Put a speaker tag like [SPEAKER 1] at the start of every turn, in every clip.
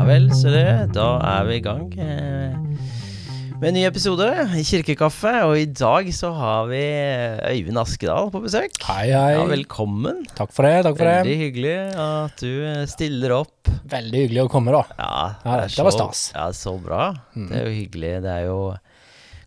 [SPEAKER 1] dere. Da er vi i gang eh, med en ny episode i Kirkekaffe. Og i dag så har vi eh, Øyvind Askedal på besøk.
[SPEAKER 2] Hei, hei.
[SPEAKER 1] Ja, velkommen.
[SPEAKER 2] Takk for det. takk for
[SPEAKER 1] Veldig
[SPEAKER 2] det.
[SPEAKER 1] hyggelig at du eh, stiller opp.
[SPEAKER 2] Veldig hyggelig å komme, da.
[SPEAKER 1] Ja,
[SPEAKER 2] Ja,
[SPEAKER 1] er
[SPEAKER 2] dette var stas. Mm.
[SPEAKER 1] Ja, så bra. Det er jo hyggelig. Det er jo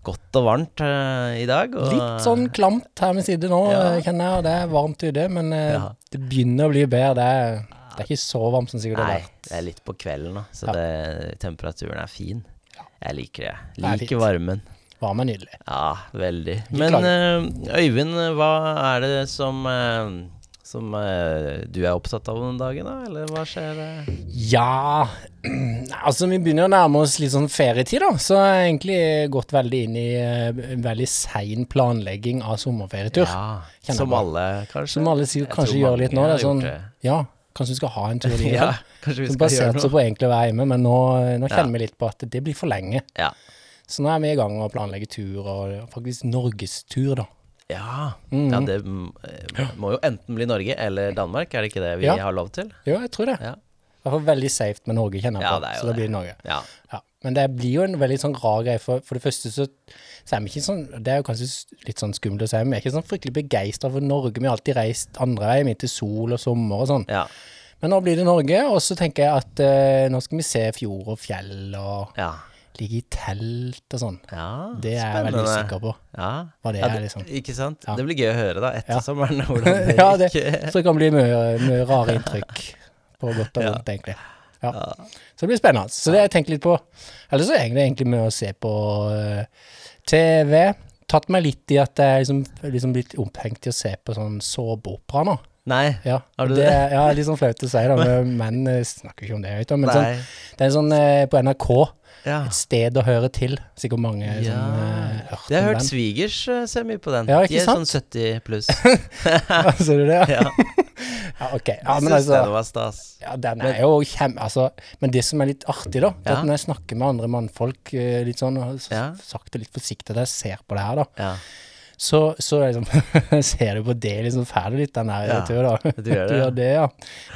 [SPEAKER 1] godt og varmt eh, i dag. Og,
[SPEAKER 2] Litt sånn klamt her ved siden nå,
[SPEAKER 1] Ja.
[SPEAKER 2] eh, kjenner jeg. og Det er varmt ute, men eh,
[SPEAKER 1] Ja.
[SPEAKER 2] det begynner å bli bedre. Det er, det er ikke så varmt som sikkert det
[SPEAKER 1] Nei,
[SPEAKER 2] har vært.
[SPEAKER 1] det er litt på kvelden, da. Så
[SPEAKER 2] Ja.
[SPEAKER 1] det, temperaturen er fin. Jeg liker det.
[SPEAKER 2] Det er
[SPEAKER 1] Liker
[SPEAKER 2] fint.
[SPEAKER 1] varmen.
[SPEAKER 2] Varme er nydelig.
[SPEAKER 1] Ja, veldig.
[SPEAKER 2] Ikke
[SPEAKER 1] Men eh, Øyvind, hva er det som eh, som eh, du er opptatt av om dagen, da? Eller hva skjer? eh?
[SPEAKER 2] Ja Altså, vi begynner å nærme oss litt sånn ferietid, da. Så jeg har egentlig gått veldig inn i eh, en veldig sein planlegging av sommerferietur.
[SPEAKER 1] Ja,
[SPEAKER 2] Kjenner
[SPEAKER 1] som
[SPEAKER 2] jeg.
[SPEAKER 1] alle, kanskje?
[SPEAKER 2] Som alle sikkert
[SPEAKER 1] Jeg
[SPEAKER 2] kanskje
[SPEAKER 1] tror
[SPEAKER 2] gjør
[SPEAKER 1] mange
[SPEAKER 2] litt nå. Det er
[SPEAKER 1] har
[SPEAKER 2] sånn,
[SPEAKER 1] gjort
[SPEAKER 2] ja, kanskje vi skal ha en tur
[SPEAKER 1] det.
[SPEAKER 2] likevel.
[SPEAKER 1] Ja, kanskje vi skal
[SPEAKER 2] Som
[SPEAKER 1] gjøre
[SPEAKER 2] baserte seg
[SPEAKER 1] noe.
[SPEAKER 2] på egentlig å være hjemme, men nå, eh, nå
[SPEAKER 1] Ja.
[SPEAKER 2] kjenner vi litt på at det blir for lenge.
[SPEAKER 1] Ja.
[SPEAKER 2] Så nå er vi i gang med å planlegge tur, og faktisk norgestur, da.
[SPEAKER 1] Ja.
[SPEAKER 2] Mhm.
[SPEAKER 1] ja, det mm, eh, må jo enten bli Norge eller Danmark, er det ikke det vi
[SPEAKER 2] Ja.
[SPEAKER 1] har lov til?
[SPEAKER 2] Jo, jeg tror det.
[SPEAKER 1] Ja.
[SPEAKER 2] I hvert fall veldig safe med Norge, kjenner jeg
[SPEAKER 1] Ja,
[SPEAKER 2] på.
[SPEAKER 1] det er jo
[SPEAKER 2] så da
[SPEAKER 1] det.
[SPEAKER 2] blir det Norge.
[SPEAKER 1] Ja.
[SPEAKER 2] Ja. Men det blir jo en veldig sånn rar greie, for, for det første så, så er vi ikke sånn Det er jo kanskje s- litt sånn skummelt å si, men vi er ikke sånn fryktelig begeistra for Norge. Vi har alltid reist andre veien, inn til sol og sommer og sånn.
[SPEAKER 1] ja.
[SPEAKER 2] Men nå blir det Norge, og så tenker jeg at eh, nå skal vi se fjord og fjell, og
[SPEAKER 1] Ja.
[SPEAKER 2] ligge i telt og sånn.
[SPEAKER 1] ja.
[SPEAKER 2] Det er jeg veldig usikker på.
[SPEAKER 1] Ja.
[SPEAKER 2] Hva det
[SPEAKER 1] Ja,
[SPEAKER 2] er, liksom.
[SPEAKER 1] Ikke sant?
[SPEAKER 2] Ja.
[SPEAKER 1] Det blir gøy å høre, da, etter
[SPEAKER 2] Ja.
[SPEAKER 1] sommeren, hvordan det
[SPEAKER 2] ja, det,
[SPEAKER 1] gikk.
[SPEAKER 2] så det kan bli mye, mye rare inntrykk på godt og
[SPEAKER 1] Ja.
[SPEAKER 2] vondt, egentlig. Ja. Så det blir spennende. Så det har jeg tenkt litt på. Eller så er det egentlig med å se på eh, TV. Tatt meg litt i at jeg er liksom, liksom blitt opphengt i å se på sånn såpeopera nå.
[SPEAKER 1] Nei.
[SPEAKER 2] Ja,
[SPEAKER 1] Har du
[SPEAKER 2] det? er- Ja, litt sånn flaut å si, da, men menn eh, snakker ikke om det høyt. da, Men sånn,
[SPEAKER 1] Nei.
[SPEAKER 2] det er en sånn eh, på NRK,
[SPEAKER 1] Ja.
[SPEAKER 2] et sted å høre til. Sikkert mange som
[SPEAKER 1] Ja.
[SPEAKER 2] eh, hørt
[SPEAKER 1] Jeg har
[SPEAKER 2] om
[SPEAKER 1] hørt
[SPEAKER 2] den.
[SPEAKER 1] svigers eh, se mye på den.
[SPEAKER 2] Ja, ikke
[SPEAKER 1] de er
[SPEAKER 2] sant?
[SPEAKER 1] sånn 70 pluss.
[SPEAKER 2] Ser du det?
[SPEAKER 1] Ja,
[SPEAKER 2] Ja, ok.
[SPEAKER 1] ja
[SPEAKER 2] Ja, men
[SPEAKER 1] Syns
[SPEAKER 2] altså,
[SPEAKER 1] den var stas.
[SPEAKER 2] Ja, den er jo kjem... Altså, men det som er litt artig, da, det er
[SPEAKER 1] Ja.
[SPEAKER 2] at når jeg snakker med andre mannfolk eh, litt sånn, og så,
[SPEAKER 1] Ja.
[SPEAKER 2] sakte litt forsiktig at jeg ser på det her, da,
[SPEAKER 1] Ja,
[SPEAKER 2] så, så er det liksom, ser du på det liksom ferdig litt, den der
[SPEAKER 1] Ja,
[SPEAKER 2] tur, da.
[SPEAKER 1] du gjør det,
[SPEAKER 2] Du
[SPEAKER 1] ja.
[SPEAKER 2] gjør det, ja.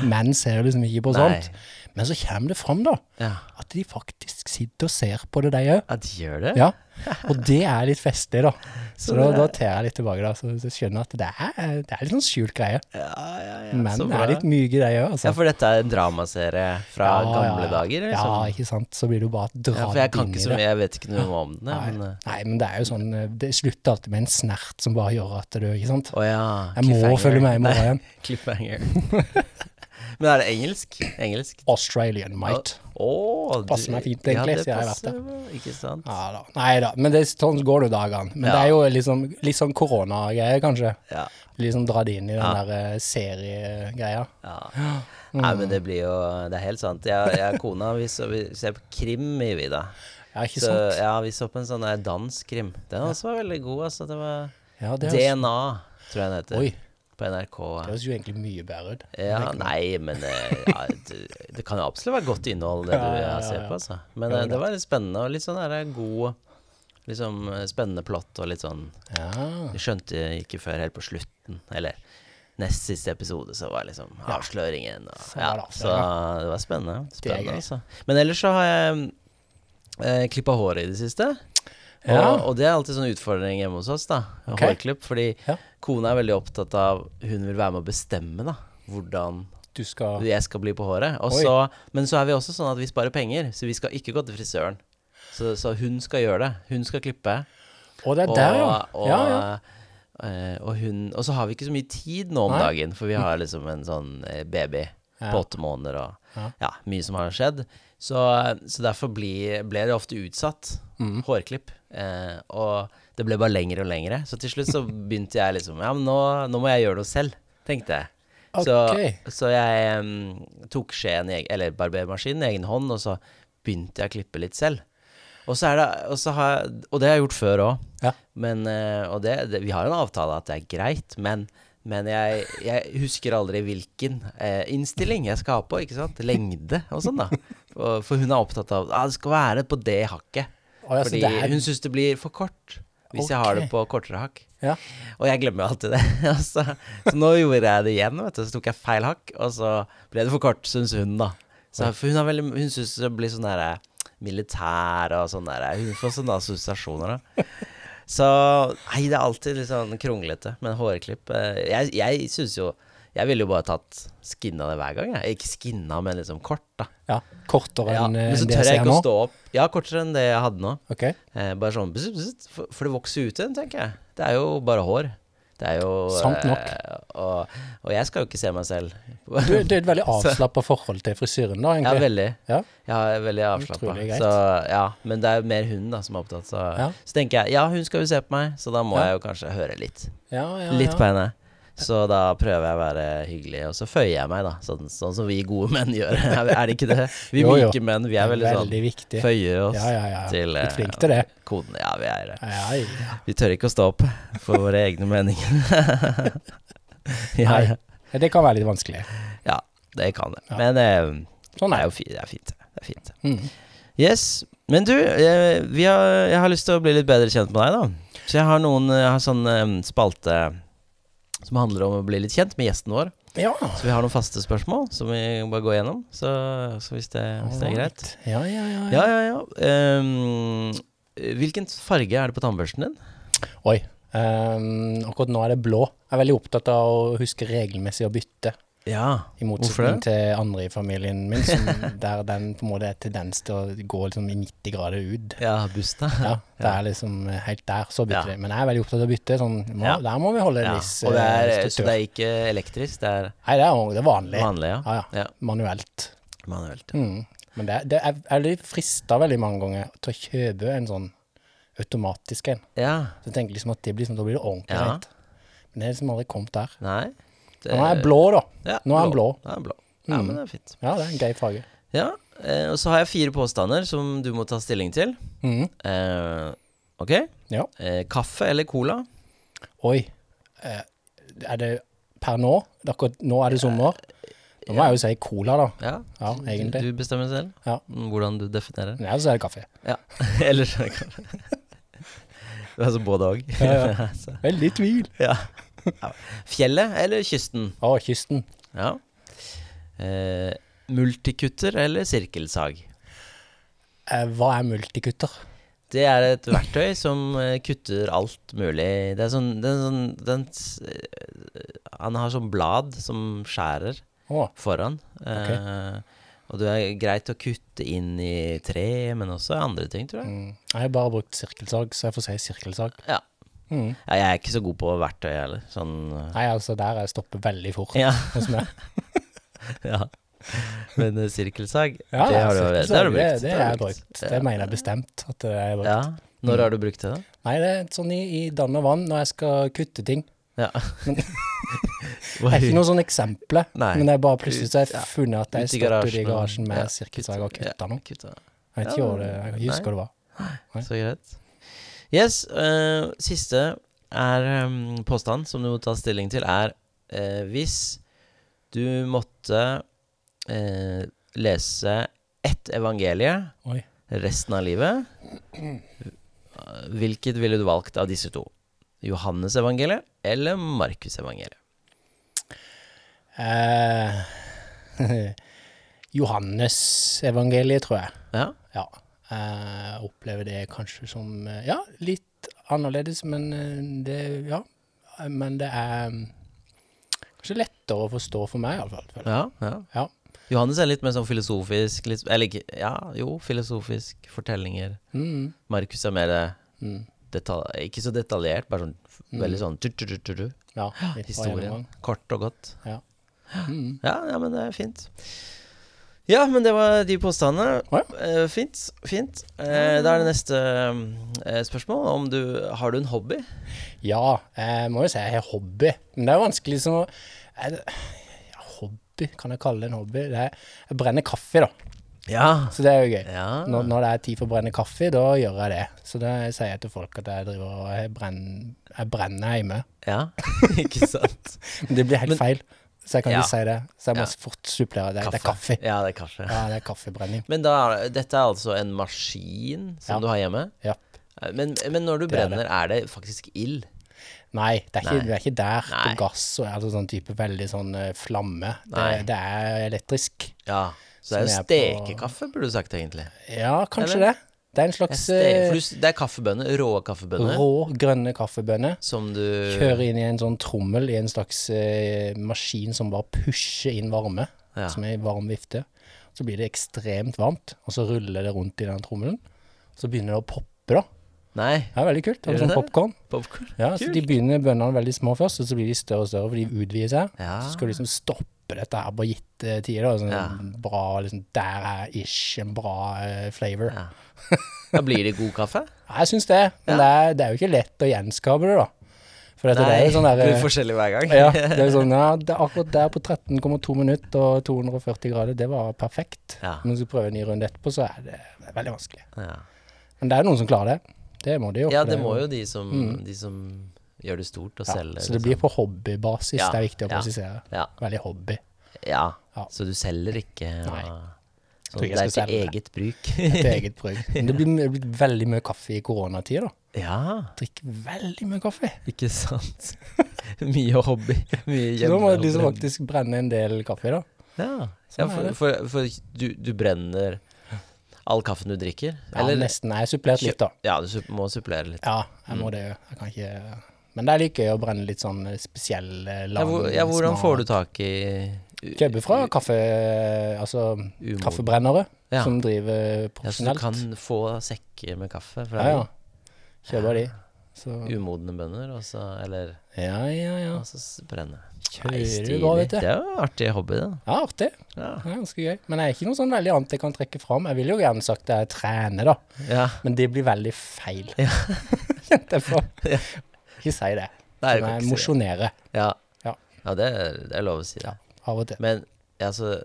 [SPEAKER 2] Menn ser liksom ikke på
[SPEAKER 1] Nei.
[SPEAKER 2] sånt. Men så kommer det fram, da,
[SPEAKER 1] ja.
[SPEAKER 2] at de faktisk sitter og ser på det, de òg.
[SPEAKER 1] ja de gjør det?
[SPEAKER 2] Ja. Og det er litt festlig, da. Så,
[SPEAKER 1] Så
[SPEAKER 2] da,
[SPEAKER 1] det er-
[SPEAKER 2] da tar jeg litt tilbake, da. Så, så skjønner jeg at det er, det er litt sånn skjult greie.
[SPEAKER 1] ja, ja, ja.
[SPEAKER 2] Menn
[SPEAKER 1] så bra.
[SPEAKER 2] er litt myke, de òg, altså.
[SPEAKER 1] Ja, for dette er en dramaserie fra
[SPEAKER 2] Ja, ja,
[SPEAKER 1] gamle
[SPEAKER 2] ja.
[SPEAKER 1] dager, liksom?
[SPEAKER 2] Ja, ikke sant. Så blir du bare dratt
[SPEAKER 1] Ja, for jeg kan
[SPEAKER 2] inn
[SPEAKER 1] ikke
[SPEAKER 2] i
[SPEAKER 1] så
[SPEAKER 2] det.
[SPEAKER 1] mye, jeg vet ikke noe om eh. den. jeg,
[SPEAKER 2] Nei,
[SPEAKER 1] Men,
[SPEAKER 2] nei, men det er jo sånn eh, Det slutter alltid med en snert som bare gjør at du Ikke sant?
[SPEAKER 1] å ja.
[SPEAKER 2] Jeg må
[SPEAKER 1] cliffhanger.
[SPEAKER 2] følge med i morgen
[SPEAKER 1] Nei,
[SPEAKER 2] igjen.
[SPEAKER 1] Cliffhanger. Men er det engelsk? Engelsk?
[SPEAKER 2] Australian might.
[SPEAKER 1] Å, du-
[SPEAKER 2] Passer meg fint,
[SPEAKER 1] Ja,
[SPEAKER 2] egentlig,
[SPEAKER 1] det
[SPEAKER 2] så jeg har vært
[SPEAKER 1] passer meg, Ikke sant?
[SPEAKER 2] Ja da. Nei da. Men det, sånn går det jo dagene. Men det
[SPEAKER 1] Ja.
[SPEAKER 2] er jo liksom, litt sånn koronagreier, kanskje.
[SPEAKER 1] Ja.
[SPEAKER 2] Liksom dratt inn i den
[SPEAKER 1] Ja.
[SPEAKER 2] der eh, seriegreia.
[SPEAKER 1] Ja. Nei, men det
[SPEAKER 2] Mm.
[SPEAKER 1] blir jo Det er helt sant. Jeg, jeg og kona vi, så, vi ser på krim, gjør vi da.
[SPEAKER 2] Ja, ikke
[SPEAKER 1] Så,
[SPEAKER 2] sant?
[SPEAKER 1] ja, vi så på en sånn der dansk krim. Den også var veldig god, altså. Det var
[SPEAKER 2] Ja, det høres,
[SPEAKER 1] DNA, tror jeg den heter.
[SPEAKER 2] oi,
[SPEAKER 1] På NRK.
[SPEAKER 2] det høres jo egentlig mye bedre ut.
[SPEAKER 1] Ja, nei, men eh, ja, det, det kan jo absolutt være godt innhold, det du
[SPEAKER 2] Ja, ja, ja,
[SPEAKER 1] ser
[SPEAKER 2] ja.
[SPEAKER 1] på, altså. Men
[SPEAKER 2] Ja,
[SPEAKER 1] eh,
[SPEAKER 2] det er
[SPEAKER 1] det var litt spennende, og litt sånn der god Liksom eh, spennende plott og litt sånn
[SPEAKER 2] Ja.
[SPEAKER 1] Vi skjønte ikke før helt på slutten, eller nest siste episode, så var liksom avsløringen og
[SPEAKER 2] Så
[SPEAKER 1] ja,
[SPEAKER 2] var det
[SPEAKER 1] Så det var spennende.
[SPEAKER 2] Det er
[SPEAKER 1] spennende
[SPEAKER 2] gøy.
[SPEAKER 1] altså. Men ellers så har jeg eh, klippa håret i det siste. Og,
[SPEAKER 2] Ja.
[SPEAKER 1] og det er alltid sånn utfordring hjemme hos oss, da.
[SPEAKER 2] Ok.
[SPEAKER 1] Hårklipp. Fordi
[SPEAKER 2] Ja.
[SPEAKER 1] kona er veldig opptatt av Hun vil være med å bestemme, da. Hvordan
[SPEAKER 2] Du skal
[SPEAKER 1] jeg skal bli på håret. Og
[SPEAKER 2] Oi.
[SPEAKER 1] så, men så er vi også sånn at vi sparer penger, så vi skal ikke gå til frisøren. Så, så hun skal gjøre det. Hun skal klippe.
[SPEAKER 2] Å, det er
[SPEAKER 1] Og,
[SPEAKER 2] der, ja.
[SPEAKER 1] og,
[SPEAKER 2] Ja, ja.
[SPEAKER 1] eh, og, hun, og så har vi ikke så mye tid nå om
[SPEAKER 2] Nei. Mm.
[SPEAKER 1] dagen, for vi har liksom en sånn eh, baby
[SPEAKER 2] Ja.
[SPEAKER 1] på åtte måneder og
[SPEAKER 2] Ja.
[SPEAKER 1] ja. mye som har skjedd. Så, så derfor blir- ble det ofte utsatt hårklipp. Eh, og det ble bare lengre og lengre. Så til slutt så begynte jeg liksom Ja, men nå, nå må jeg gjøre noe selv, tenkte jeg.
[SPEAKER 2] Ok.
[SPEAKER 1] Så, så jeg em, tok skjeen, i eg- eller barbermaskinen, i egen hånd, og så begynte jeg å klippe litt selv. Og, så er det, og, så har jeg, og det har jeg gjort før òg.
[SPEAKER 2] Ja.
[SPEAKER 1] Men, eh, og det, det, vi har en avtale at det er greit, men, men jeg, jeg husker aldri hvilken eh, innstilling jeg skal ha på, ikke sant? Lengde og sånn, da. Og, for hun er opptatt av at ah, det skal være på det hakket.
[SPEAKER 2] Å, ja, så
[SPEAKER 1] Fordi
[SPEAKER 2] det er-
[SPEAKER 1] hun syns det blir for kort hvis jeg har det
[SPEAKER 2] Ok.
[SPEAKER 1] på kortere hakk.
[SPEAKER 2] Ja.
[SPEAKER 1] Og jeg glemmer jo alltid det. Og så, så nå gjorde jeg det igjen, vet du. Så tok jeg feil hakk, og så ble det for kort, syns hun, da. Så, for hun, har veldig- hun syns det blir sånn derre militær og sånn derre Hun får sånne assosiasjoner, da. Så Nei, det er alltid litt sånn kronglete, men hårklipp eh, Jeg, jeg syns jo Jeg ville jo bare tatt skinna det hver gang, jeg. Ikke skinna, men liksom kort, da.
[SPEAKER 2] Ja, kortere
[SPEAKER 1] Ja,
[SPEAKER 2] enn eh,
[SPEAKER 1] men så
[SPEAKER 2] det jeg
[SPEAKER 1] tør jeg
[SPEAKER 2] ser
[SPEAKER 1] ikke
[SPEAKER 2] nå.
[SPEAKER 1] å stå opp. Ja, kortere enn det jeg hadde nå.
[SPEAKER 2] Ok,
[SPEAKER 1] Eh, bare sånn bzz, bzz, for, for det vokser ut igjen, tenker jeg. Det er jo bare hår. Det er jo
[SPEAKER 2] Sant nok.
[SPEAKER 1] Eh, og, og jeg skal jo ikke se meg selv.
[SPEAKER 2] du, Det er et veldig avslappa forhold til frisyren, da,
[SPEAKER 1] Ja,
[SPEAKER 2] egentlig.
[SPEAKER 1] veldig.
[SPEAKER 2] Ja,
[SPEAKER 1] Ja, jeg er veldig avslappa.
[SPEAKER 2] Utrolig greit.
[SPEAKER 1] Så, ja, men det er jo mer hun da som er opptatt. Så,
[SPEAKER 2] Ja.
[SPEAKER 1] så tenker jeg ja, hun skal jo se på meg, så da må
[SPEAKER 2] Ja.
[SPEAKER 1] jeg jo kanskje høre litt.
[SPEAKER 2] ja, ja.
[SPEAKER 1] Litt
[SPEAKER 2] ja.
[SPEAKER 1] på henne. Så da prøver jeg å være hyggelig, og så føyer jeg meg, da. Sånn, sånn som vi gode menn gjør. Er det ikke det? Vi
[SPEAKER 2] Jo, jo.
[SPEAKER 1] myke menn, vi er veldig,
[SPEAKER 2] veldig
[SPEAKER 1] sånn
[SPEAKER 2] viktig.
[SPEAKER 1] Føyer oss
[SPEAKER 2] Ja, ja, ja.
[SPEAKER 1] til
[SPEAKER 2] Litt flink
[SPEAKER 1] eh,
[SPEAKER 2] til det.
[SPEAKER 1] koden. Ja, vi er eh, det.
[SPEAKER 2] Ja, ja.
[SPEAKER 1] Vi tør ikke å stå opp for våre egne meninger. ja,
[SPEAKER 2] Nei. Ja, Det kan være litt vanskelig.
[SPEAKER 1] ja, det kan det.
[SPEAKER 2] Ja.
[SPEAKER 1] Men eh,
[SPEAKER 2] Sånn
[SPEAKER 1] det er
[SPEAKER 2] er det.
[SPEAKER 1] jo fint. Det er fint. Det er fint.
[SPEAKER 2] Mm.
[SPEAKER 1] Yes. Men du, eh, vi har, jeg har lyst til å bli litt bedre kjent med deg, da. Så jeg har noen jeg har sånn eh, spalte som handler om å bli litt kjent med gjesten vår.
[SPEAKER 2] Ja.
[SPEAKER 1] Så vi har noen faste spørsmål som vi bare går gjennom. Så, så hvis, det, hvis det er greit.
[SPEAKER 2] Ja, ja, ja. ja.
[SPEAKER 1] Ja, ja, ja. Ehm, hvilken farge er det på tannbørsten din?
[SPEAKER 2] Oi. ehm, akkurat nå er det blå. Jeg er veldig opptatt av å huske regelmessig å bytte.
[SPEAKER 1] Ja.
[SPEAKER 2] I
[SPEAKER 1] Hvorfor
[SPEAKER 2] motsetning til andre i familien min, som, der den på en måte er tendens til å gå liksom i 90 grader ut.
[SPEAKER 1] Ja, busta.
[SPEAKER 2] Ja, det er liksom helt der, så bytter
[SPEAKER 1] Ja.
[SPEAKER 2] de. Men jeg er veldig opptatt av å bytte. Sånn, må,
[SPEAKER 1] Ja.
[SPEAKER 2] Der må vi holde en
[SPEAKER 1] Ja,
[SPEAKER 2] viss
[SPEAKER 1] og det
[SPEAKER 2] eh,
[SPEAKER 1] er, så
[SPEAKER 2] struktur.
[SPEAKER 1] det er ikke elektrisk, det er
[SPEAKER 2] Nei, det er, jo- det er vanlig.
[SPEAKER 1] vanlig, ja.
[SPEAKER 2] Ja, ja.
[SPEAKER 1] Ja.
[SPEAKER 2] Manuelt.
[SPEAKER 1] Manuelt.
[SPEAKER 2] Mm. Men det, det er, jeg blir frista veldig mange ganger til å kjøpe en sånn automatisk en.
[SPEAKER 1] Ja,
[SPEAKER 2] Så jeg tenker liksom at det blir sånn, da blir det ordentlig
[SPEAKER 1] Ja.
[SPEAKER 2] rent. Men det er liksom aldri kommet der.
[SPEAKER 1] nei det,
[SPEAKER 2] Nå er jeg blå, da.
[SPEAKER 1] Ja,
[SPEAKER 2] Nå er han blå.
[SPEAKER 1] Nå er han blå. Ja,
[SPEAKER 2] Mm.
[SPEAKER 1] men det er fint.
[SPEAKER 2] Ja, det er en gøy farge.
[SPEAKER 1] Ja, eh, og så har jeg fire påstander som du må ta stilling til.
[SPEAKER 2] Mm.
[SPEAKER 1] Eh, ok?
[SPEAKER 2] Ja.
[SPEAKER 1] Eh, kaffe eller cola?
[SPEAKER 2] Oi. Eh, Er det per nå? Akkurat nå er det sommer. Nå må jeg jo si cola, da.
[SPEAKER 1] Ja,
[SPEAKER 2] Ja, egentlig.
[SPEAKER 1] Du bestemmer selv
[SPEAKER 2] Ja.
[SPEAKER 1] mm, hvordan du definerer.
[SPEAKER 2] Men ellers er det kaffe.
[SPEAKER 1] Ja, ellers er det kaffe. Det er altså både òg.
[SPEAKER 2] Ja, Veldig i tvil.
[SPEAKER 1] ja. Ja. Fjellet eller kysten?
[SPEAKER 2] Å, kysten.
[SPEAKER 1] Ja. Eh, multikutter eller sirkelsag?
[SPEAKER 2] Eh, Hva er multikutter?
[SPEAKER 1] Det er et verktøy som eh, kutter alt mulig. Det er sånn, det er sånn den, s- eh, Han har sånn blad som skjærer
[SPEAKER 2] Å,
[SPEAKER 1] foran. Eh, og det er greit å kutte inn i tre, men også andre ting, tror jeg.
[SPEAKER 2] mm. Jeg har bare brukt sirkelsag, så jeg får si sirkelsag.
[SPEAKER 1] Ja.
[SPEAKER 2] Mm.
[SPEAKER 1] Ja, jeg er ikke så god på verktøy heller. Sånn eh,
[SPEAKER 2] Nei, altså, der jeg stopper veldig fort.
[SPEAKER 1] ja,
[SPEAKER 2] Hos meg.
[SPEAKER 1] ja. Men eh, sirkelsag,
[SPEAKER 2] Ja,
[SPEAKER 1] det har du, det har
[SPEAKER 2] sirkelsag,
[SPEAKER 1] du
[SPEAKER 2] Det,
[SPEAKER 1] brukt.
[SPEAKER 2] det
[SPEAKER 1] har
[SPEAKER 2] har jeg
[SPEAKER 1] du
[SPEAKER 2] brukt. Det mener jeg Mm. bestemt. At det er brukt.
[SPEAKER 1] Ja. Når har du brukt det, da?
[SPEAKER 2] Nei, det er sånn i, i dann og vann når jeg skal kutte ting.
[SPEAKER 1] Ja.
[SPEAKER 2] Det er ikke noen sånne eksempler,
[SPEAKER 1] Nei.
[SPEAKER 2] men det er bare plutselig så har
[SPEAKER 1] Ja.
[SPEAKER 2] jeg funnet at jeg
[SPEAKER 1] Ut i
[SPEAKER 2] stått ute i
[SPEAKER 1] garasjen og-
[SPEAKER 2] garasjen med
[SPEAKER 1] ja,
[SPEAKER 2] sirkelsag og kutta noe.
[SPEAKER 1] Kutta.
[SPEAKER 2] Jeg vet
[SPEAKER 1] Ja,
[SPEAKER 2] ikke hva det jeg
[SPEAKER 1] nei.
[SPEAKER 2] husker det var. Nei.
[SPEAKER 1] Så greit. Yes, eh, siste er um, påstand som du må ta stilling til, er eh, hvis du måtte eh, lese ett evangelie
[SPEAKER 2] Oi.
[SPEAKER 1] resten av livet, eh, hvilket ville du valgt av disse to? Johannes evangeliet eller Markus evangeliet?
[SPEAKER 2] Eh, Johannes-evangeliet, tror jeg.
[SPEAKER 1] Ja,
[SPEAKER 2] Ja. Jeg opplever det kanskje som eh, Ja, litt annerledes, men eh, det Ja. Eh, Men det er mm, kanskje lettere å forstå for meg, iallfall.
[SPEAKER 1] ja, ja.
[SPEAKER 2] Ja.
[SPEAKER 1] Johannes er litt mer sånn filosofisk, litt, eller ikke, ja, jo, filosofisk, fortellinger.
[SPEAKER 2] Mm.
[SPEAKER 1] Markus er mer eh,
[SPEAKER 2] Mm.
[SPEAKER 1] detal ikke så detaljert, bare sånn f-
[SPEAKER 2] Mm.
[SPEAKER 1] veldig sånn tu, tu, tu, tu, tu.
[SPEAKER 2] Ja, litt av
[SPEAKER 1] Historien.
[SPEAKER 2] gjennomgang.
[SPEAKER 1] Kort og godt.
[SPEAKER 2] Mm.
[SPEAKER 1] Ja, ja, men det er fint. Ja, men det var de påstandene.
[SPEAKER 2] Å
[SPEAKER 1] Eh, fint. fint. Eh, da er det neste eh, spørsmål. Om du, har du en hobby?
[SPEAKER 2] Ja, jeg må jo si jeg har hobby. Men det er jo vanskelig som å er det- ja, Hobby, kan jeg kalle det en hobby? Det er, jeg brenner kaffe, da.
[SPEAKER 1] Ja.
[SPEAKER 2] Så det er jo gøy.
[SPEAKER 1] Ja.
[SPEAKER 2] Når, når det er tid for å brenne kaffe, da gjør jeg det. Så da sier jeg til folk at jeg driver og jeg brenner, jeg brenner hjemme.
[SPEAKER 1] ikke sant?
[SPEAKER 2] Men det blir helt
[SPEAKER 1] Men-
[SPEAKER 2] feil, så jeg kan
[SPEAKER 1] Ja.
[SPEAKER 2] ikke si det. Så jeg må
[SPEAKER 1] Ja.
[SPEAKER 2] fort supplere det. Det er kaffe.
[SPEAKER 1] Ja, det er kaffe.
[SPEAKER 2] Ja, det er kaffebrenning.
[SPEAKER 1] Men da, er- dette er altså en maskin som
[SPEAKER 2] Ja.
[SPEAKER 1] du har hjemme?
[SPEAKER 2] Ja.
[SPEAKER 1] Eh, Men, men når du
[SPEAKER 2] Det er
[SPEAKER 1] brenner, er det faktisk ild?
[SPEAKER 2] Nei, det er ikke,
[SPEAKER 1] Nei.
[SPEAKER 2] det er ikke der
[SPEAKER 1] Nei.
[SPEAKER 2] på gass og altså sånn type veldig sånn eh, flamme. Det,
[SPEAKER 1] Nei.
[SPEAKER 2] det er elektrisk.
[SPEAKER 1] Ja. Så det er jo
[SPEAKER 2] Som jeg er på-
[SPEAKER 1] stekekaffe, burde du sagt egentlig.
[SPEAKER 2] Ja, kanskje
[SPEAKER 1] Eller?
[SPEAKER 2] det. Det er en
[SPEAKER 1] Jeg
[SPEAKER 2] slags
[SPEAKER 1] ste-
[SPEAKER 2] eh,
[SPEAKER 1] for du- Det er kaffebønner, rå kaffebønner,
[SPEAKER 2] rå, grønne kaffebønner.
[SPEAKER 1] som du
[SPEAKER 2] Kjøre inn i en sånn trommel i en slags eh, maskin som bare pusher inn varme,
[SPEAKER 1] Ja.
[SPEAKER 2] som er i varm vifte. Så blir det ekstremt varmt, og så ruller det rundt i den trommelen. Så begynner det å poppe, da.
[SPEAKER 1] Nei,
[SPEAKER 2] Det er veldig kult. Det
[SPEAKER 1] Gjør
[SPEAKER 2] er sånn
[SPEAKER 1] det?
[SPEAKER 2] popcorn.
[SPEAKER 1] popcorn.
[SPEAKER 2] Ja, så de begynner bønnene veldig små først, og så blir de større og større, for de utvider seg.
[SPEAKER 1] Ja.
[SPEAKER 2] Så skal du liksom stoppe dette her på gitte tider. da, Sånn
[SPEAKER 1] Ja.
[SPEAKER 2] bra, liksom, Der er ish en bra eh, flavor.
[SPEAKER 1] Ja. Da blir det god kaffe?
[SPEAKER 2] Ja, jeg syns det, men det, er, det er jo ikke lett å gjenskape det, da. For dette, det er jo sånn
[SPEAKER 1] det blir
[SPEAKER 2] der,
[SPEAKER 1] forskjellig hver gang.
[SPEAKER 2] ja, det er jo sånn, ja, det er akkurat der på 13,2 minutter og 240 grader, det var perfekt.
[SPEAKER 1] Ja.
[SPEAKER 2] Men hvis du prøver en ny runde etterpå, så er det veldig vanskelig.
[SPEAKER 1] Ja.
[SPEAKER 2] Men det er jo noen som klarer det. Det må de jo.
[SPEAKER 1] Ja,
[SPEAKER 2] for
[SPEAKER 1] det
[SPEAKER 2] er
[SPEAKER 1] må jo de som, de som gjør det stort og
[SPEAKER 2] Mm. ja,
[SPEAKER 1] selger.
[SPEAKER 2] Så det blir på hobbybasis,
[SPEAKER 1] liksom. Ja,
[SPEAKER 2] det er viktig å
[SPEAKER 1] ja.
[SPEAKER 2] presisere.
[SPEAKER 1] Ja.
[SPEAKER 2] Veldig hobby.
[SPEAKER 1] Ja.
[SPEAKER 2] Ja.
[SPEAKER 1] så du selger ikke
[SPEAKER 2] Nei.
[SPEAKER 1] Så det
[SPEAKER 2] Tror ikke
[SPEAKER 1] er
[SPEAKER 2] jeg skal
[SPEAKER 1] til
[SPEAKER 2] selge
[SPEAKER 1] eget bruk.
[SPEAKER 2] Til eget bruk. Men det blir, det blir veldig mye kaffe i koronatida, da.
[SPEAKER 1] ja,
[SPEAKER 2] Drikker veldig mye kaffe.
[SPEAKER 1] ikke sant. Mye hobby. Mye
[SPEAKER 2] Så da må
[SPEAKER 1] hjemme-
[SPEAKER 2] du liksom faktisk brenne en del kaffe, da.
[SPEAKER 1] Ja, ja
[SPEAKER 2] Sånn er
[SPEAKER 1] for,
[SPEAKER 2] det.
[SPEAKER 1] for, for du, du brenner all kaffen du drikker?
[SPEAKER 2] Ja, nesten. Nei, jeg supplert litt, da.
[SPEAKER 1] Ja, du sup- må supplere litt.
[SPEAKER 2] Ja, jeg
[SPEAKER 1] Mm.
[SPEAKER 2] må det jo. Jeg kan ikke Men det er litt gøy å brenne litt sånn spesiell eh, lang
[SPEAKER 1] Ja, hvor, ja, hvordan får du tak i u-
[SPEAKER 2] Kjøpe fra kaffe... Altså
[SPEAKER 1] Umoden.
[SPEAKER 2] kaffebrennere
[SPEAKER 1] Ja.
[SPEAKER 2] som driver
[SPEAKER 1] Ja, så du
[SPEAKER 2] profesjonelt.
[SPEAKER 1] kan få sekker med kaffe fra
[SPEAKER 2] Ja, ja. Kjøper de. Så
[SPEAKER 1] umodne bønder, og så Eller
[SPEAKER 2] Ja, ja, ja.
[SPEAKER 1] Og så s- brenne.
[SPEAKER 2] Kjører
[SPEAKER 1] Nei,
[SPEAKER 2] du
[SPEAKER 1] stilig.
[SPEAKER 2] bra, vet du.
[SPEAKER 1] Det er jo en artig hobby, da.
[SPEAKER 2] Ja, artig.
[SPEAKER 1] Ja.
[SPEAKER 2] Det er ganske gøy. Men det er ikke noe sånn veldig annet jeg kan trekke fram. Jeg ville jo gjerne sagt det er trene, da.
[SPEAKER 1] ja.
[SPEAKER 2] Men det blir veldig feil. Kjente jeg på. Ikke si det.
[SPEAKER 1] Nei, jeg kan
[SPEAKER 2] Men jeg
[SPEAKER 1] ikke si det.
[SPEAKER 2] mosjonere
[SPEAKER 1] Ja,
[SPEAKER 2] Ja.
[SPEAKER 1] ja det, er, det er lov å si det.
[SPEAKER 2] av og til.
[SPEAKER 1] Men altså,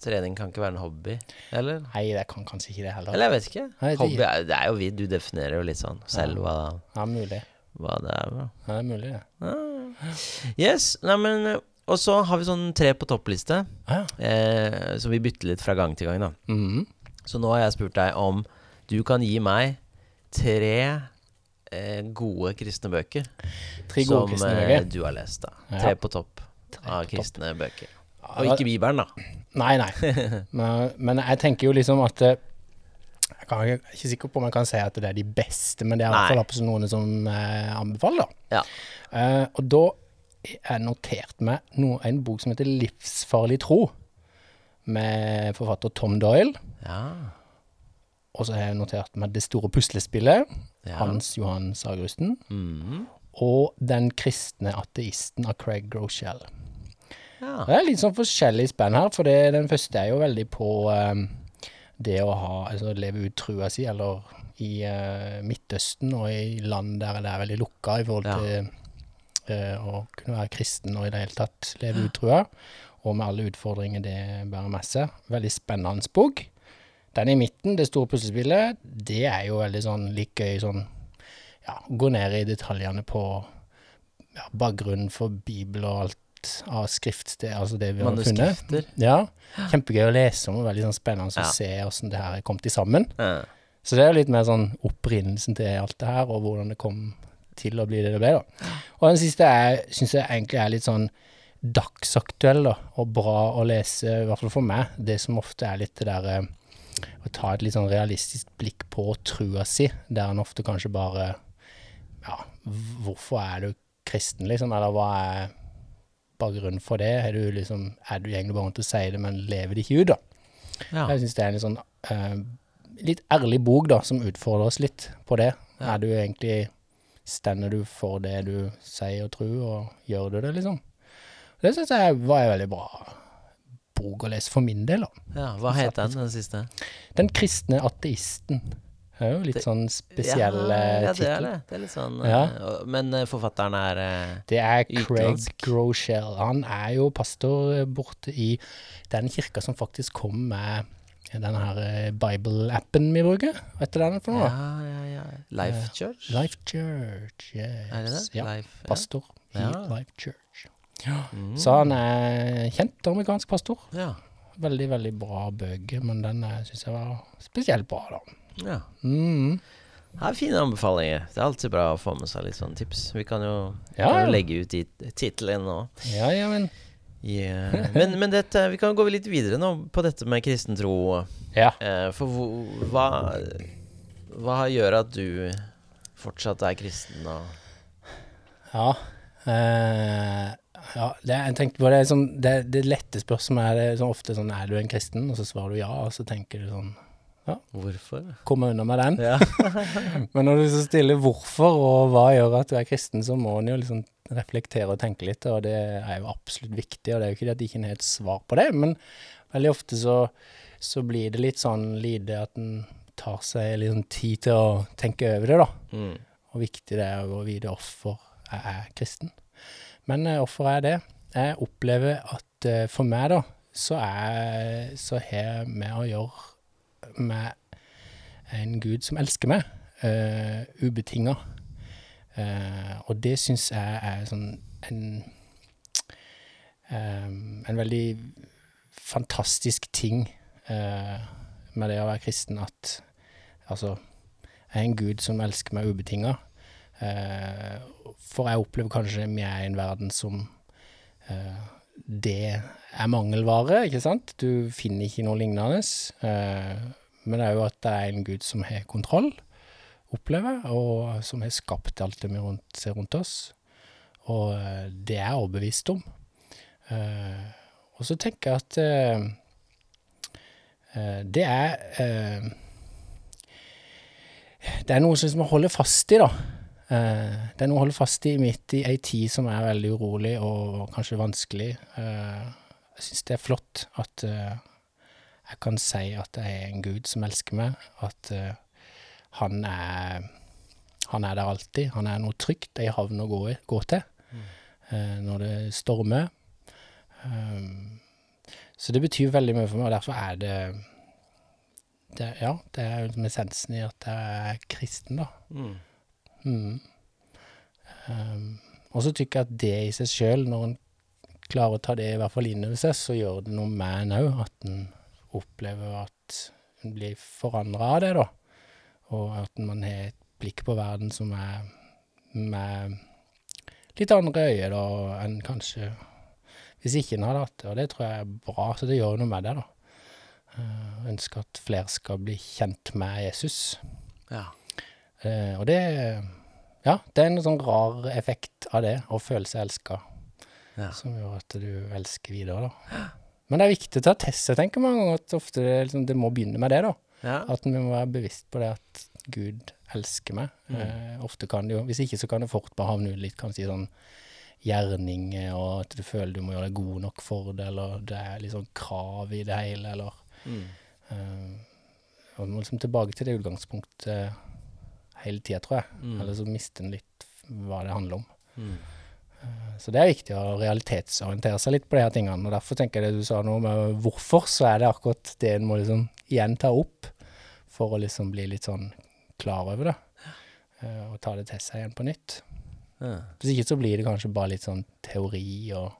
[SPEAKER 1] trening kan ikke være en hobby, eller?
[SPEAKER 2] Nei, jeg kan kanskje ikke det heller.
[SPEAKER 1] Eller jeg vet ikke.
[SPEAKER 2] Nei, det-
[SPEAKER 1] Hobby er, det er jo vi, du definerer jo litt sånn selv hva,
[SPEAKER 2] Ja, mulig.
[SPEAKER 1] hva det er. Da.
[SPEAKER 2] Ja, det er mulig, det.
[SPEAKER 1] Yes, nei, men Og så har vi sånn tre på toppliste,
[SPEAKER 2] Ah, ja.
[SPEAKER 1] eh, som vi bytter litt fra gang til gang, da.
[SPEAKER 2] Mhm.
[SPEAKER 1] Så nå har jeg spurt deg om du kan gi meg tre eh, gode kristne bøker
[SPEAKER 2] Tre
[SPEAKER 1] som
[SPEAKER 2] gode kristne
[SPEAKER 1] eh,
[SPEAKER 2] bøker.
[SPEAKER 1] du har lest. da
[SPEAKER 2] Ja.
[SPEAKER 1] Tre på topp
[SPEAKER 2] på
[SPEAKER 1] av
[SPEAKER 2] topp.
[SPEAKER 1] kristne bøker.
[SPEAKER 2] Ja,
[SPEAKER 1] Og
[SPEAKER 2] da-
[SPEAKER 1] ikke Bibelen, da.
[SPEAKER 2] Nei, nei. Men, men jeg tenker jo liksom at eh, Jeg kan, jeg er ikke sikker på om jeg kan si at det er de beste, men det er i
[SPEAKER 1] Nei.
[SPEAKER 2] hvert fall absolutt noen som eh, anbefaler. da.
[SPEAKER 1] Ja.
[SPEAKER 2] Eh, og da har jeg notert meg noe, en bok som heter 'Livsfarlig tro', med forfatter Tom Doyle.
[SPEAKER 1] Ja.
[SPEAKER 2] Og så har jeg notert meg 'Det store puslespillet',
[SPEAKER 1] Ja.
[SPEAKER 2] Hans Johan Sagrusten.
[SPEAKER 1] Mhm.
[SPEAKER 2] Og 'Den kristne ateisten' av Craig Groeschel.
[SPEAKER 1] ja.
[SPEAKER 2] Det er litt sånn forskjellig spenn her, for det, den første er jo veldig på eh, det å ha, altså, leve ut trua si, eller i eh, Midtøsten og i land der det er veldig lukka i forhold
[SPEAKER 1] Ja.
[SPEAKER 2] til eh, å kunne være kristen og i det hele tatt leve ut trua, og med alle utfordringer det bærer med seg. Veldig spennende bok. Den i midten, det store puslespillet, det er jo veldig sånn like gøy sånn Ja, gå ned i detaljene på ja, bakgrunnen for Bibel og alt av skriftsted, altså det vi har funnet.
[SPEAKER 1] Manuskrifter.
[SPEAKER 2] Ja, kjempegøy å lese om, og veldig sånn spennende
[SPEAKER 1] Ja.
[SPEAKER 2] å se hvordan det her er kommet til sammen.
[SPEAKER 1] Ja.
[SPEAKER 2] Så det er jo litt mer sånn opprinnelsen til alt det her, og hvordan det kom til å bli det det ble, da. Og den siste syns jeg egentlig er litt sånn dagsaktuell, da, og bra å lese, i hvert fall for meg. Det som ofte er litt det derre å ta et litt sånn realistisk blikk på trua si, der en ofte kanskje bare Ja, v- hvorfor er du kristen, liksom? Eller hva er bakgrunnen for det? Er du liksom Er du egentlig bare rundt og sier det, men lever det ikke ut, da?
[SPEAKER 1] Ja.
[SPEAKER 2] Jeg syns det er en litt sånn eh, litt ærlig bok da, som utfordrer oss litt på det.
[SPEAKER 1] Ja.
[SPEAKER 2] Er du egentlig Stender du for det du sier og tror, og gjør du det, liksom? Det syns jeg var en veldig bra bok å lese for min del, da.
[SPEAKER 1] ja. Hva het den, den siste?
[SPEAKER 2] Den kristne ateisten. Det er jo litt
[SPEAKER 1] Det-
[SPEAKER 2] sånn spesiell eh,
[SPEAKER 1] ja, ja, det er
[SPEAKER 2] tittel.
[SPEAKER 1] det. Det er litt sånn
[SPEAKER 2] Ja.
[SPEAKER 1] eh, og- Men eh, forfatteren er eh,
[SPEAKER 2] Det er Craig
[SPEAKER 1] Utenlandsk.
[SPEAKER 2] Groeschel. Han er jo pastor eh, borte i den kirka som faktisk kom med den her eh, Bible-appen vi bruker. Vet du den for noe?
[SPEAKER 1] Ja,
[SPEAKER 2] da?
[SPEAKER 1] ja, ja. Life Church?
[SPEAKER 2] Life Church, yes.
[SPEAKER 1] Er det det?
[SPEAKER 2] Eh, Ja.
[SPEAKER 1] Life, ja.
[SPEAKER 2] Pastor i
[SPEAKER 1] Ja. Mm.
[SPEAKER 2] Life Church. Så han er kjent amerikansk pastor.
[SPEAKER 1] Ja.
[SPEAKER 2] Veldig, veldig bra bøker, men den syns jeg var spesielt bra, da.
[SPEAKER 1] ja.
[SPEAKER 2] Mm.
[SPEAKER 1] Det er fine anbefalinger. Det er alltid bra å få med seg litt sånne tips. Vi sånn kan jo,
[SPEAKER 2] Ja,
[SPEAKER 1] kan
[SPEAKER 2] ja.
[SPEAKER 1] jo legge ut i tittelen nå.
[SPEAKER 2] Ja, ja, men
[SPEAKER 1] Yeah. Men, men dette, vi kan gå litt videre nå på dette med kristen tro.
[SPEAKER 2] Ja.
[SPEAKER 1] Eh, For hvor- hva, hva gjør at du fortsatt er kristen? Og
[SPEAKER 2] Ja. eh, ja det, jeg tenkte på det, sånn, det, det lette spørsmålet er det, sånn, ofte sånn Er du en kristen? Og så svarer du ja, og så tenker du sånn
[SPEAKER 1] hvorfor?
[SPEAKER 2] Kom meg unna med den.
[SPEAKER 1] Ja.
[SPEAKER 2] Men når du så stiller hvorfor og hva gjør at du er kristen, så må en jo liksom reflektere og tenke litt, og det er jo absolutt viktig. Og det er jo ikke det at det ikke er helt svar på det, men veldig ofte så, så blir det litt sånn lite at en tar seg litt sånn tid til å tenke over det, da
[SPEAKER 1] Mm.
[SPEAKER 2] og viktig det er å gå videre hvorfor jeg er kristen. Men eh, hvorfor er jeg det? Jeg opplever at eh, for meg, da, så er så har vi å gjøre med en gud som elsker meg, uh, ubetinga. Eh, og det syns jeg er sånn en eh, En veldig fantastisk ting eh, med det å være kristen, at altså er en gud som elsker meg ubetinga. Eh, for jeg opplever kanskje vi er i en verden som eh, Det er mangelvare, ikke sant? Du finner ikke noe lignende. Eh, men det er jo at det er en gud som har kontroll, opplever jeg, og som har skapt alt det vi rundt, ser rundt oss. Og eh, det er jeg overbevist om. Eh, og så tenker jeg at eh, eh, det er eh, det er noe som liksom jeg holder fast i, da. Eh, det er noe å holde fast i midt i ei tid som er veldig urolig og kanskje vanskelig. Eh, jeg syns det er flott at eh, jeg kan si at jeg er en gud som elsker meg, at eh, han, er, han er der alltid. Han er noe trygt, ei havn å gå, i, gå til eh, når det stormer. Um, så det betyr veldig mye for meg, og derfor er det det, ja, det er jo liksom essensen i at jeg er kristen, da.
[SPEAKER 1] Mm.
[SPEAKER 2] Mm. Um, og så tykker jeg at det i seg sjøl, når en klarer å ta det i hvert fall inn over seg, så gjør det noe med en òg, at en opplever at en blir forandra av det, da. Og at man har et blikk på verden som er med litt andre øyne da, enn kanskje hvis ikke en hadde hatt det. Og det tror jeg er bra, så det gjør noe med det, da. Uh, ønsker at flere skal bli kjent med Jesus.
[SPEAKER 1] Ja.
[SPEAKER 2] Eh, og det Ja, det er en sånn rar effekt av det, å føle seg elska,
[SPEAKER 1] Ja.
[SPEAKER 2] som gjør at du elsker videre, da. Men det er viktig å ta test. Jeg tenker mange ganger at ofte det, liksom, det må begynne med det, da.
[SPEAKER 1] Ja.
[SPEAKER 2] At vi må være bevisst på det at Gud elsker meg. Eh, ofte kan det jo Hvis ikke så kan det fort bare havne ut litt kanskje i sånn gjerning, eh, og at du føler du må gjøre deg god nok for det, eller det er litt sånn krav i det hele, eller
[SPEAKER 1] Mm.
[SPEAKER 2] Eh, og vi må liksom tilbake til det utgangspunktet hele tida, tror jeg.
[SPEAKER 1] Mm.
[SPEAKER 2] Eller så mister en litt hva det handler om.
[SPEAKER 1] Mm.
[SPEAKER 2] Så det er viktig å realitetsorientere seg litt på de her tingene. Og derfor tenker jeg det du sa nå med hvorfor, så er det akkurat det en må liksom igjen ta opp for å liksom bli litt sånn klar over det. eh, Og ta det til seg igjen på nytt.
[SPEAKER 1] Ja.
[SPEAKER 2] Hvis ikke så blir det kanskje bare litt sånn teori og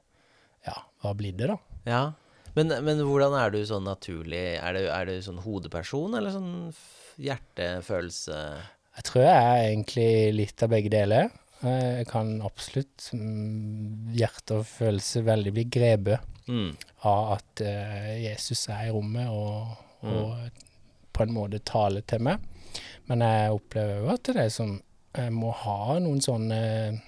[SPEAKER 2] ja, hva blir det da?
[SPEAKER 1] Ja. Men, men hvordan er du sånn naturlig? Er du, er du sånn hodeperson, eller sånn f- hjertefølelse?
[SPEAKER 2] Jeg tror jeg er egentlig litt av begge deler. Eh, Jeg kan absolutt mm, hjerte og følelse veldig bli grepet
[SPEAKER 1] Mm.
[SPEAKER 2] av at eh, Jesus er i rommet og,
[SPEAKER 1] Mm.
[SPEAKER 2] og på en måte taler til meg. Men jeg opplever jo at det er som jeg må ha noen sånne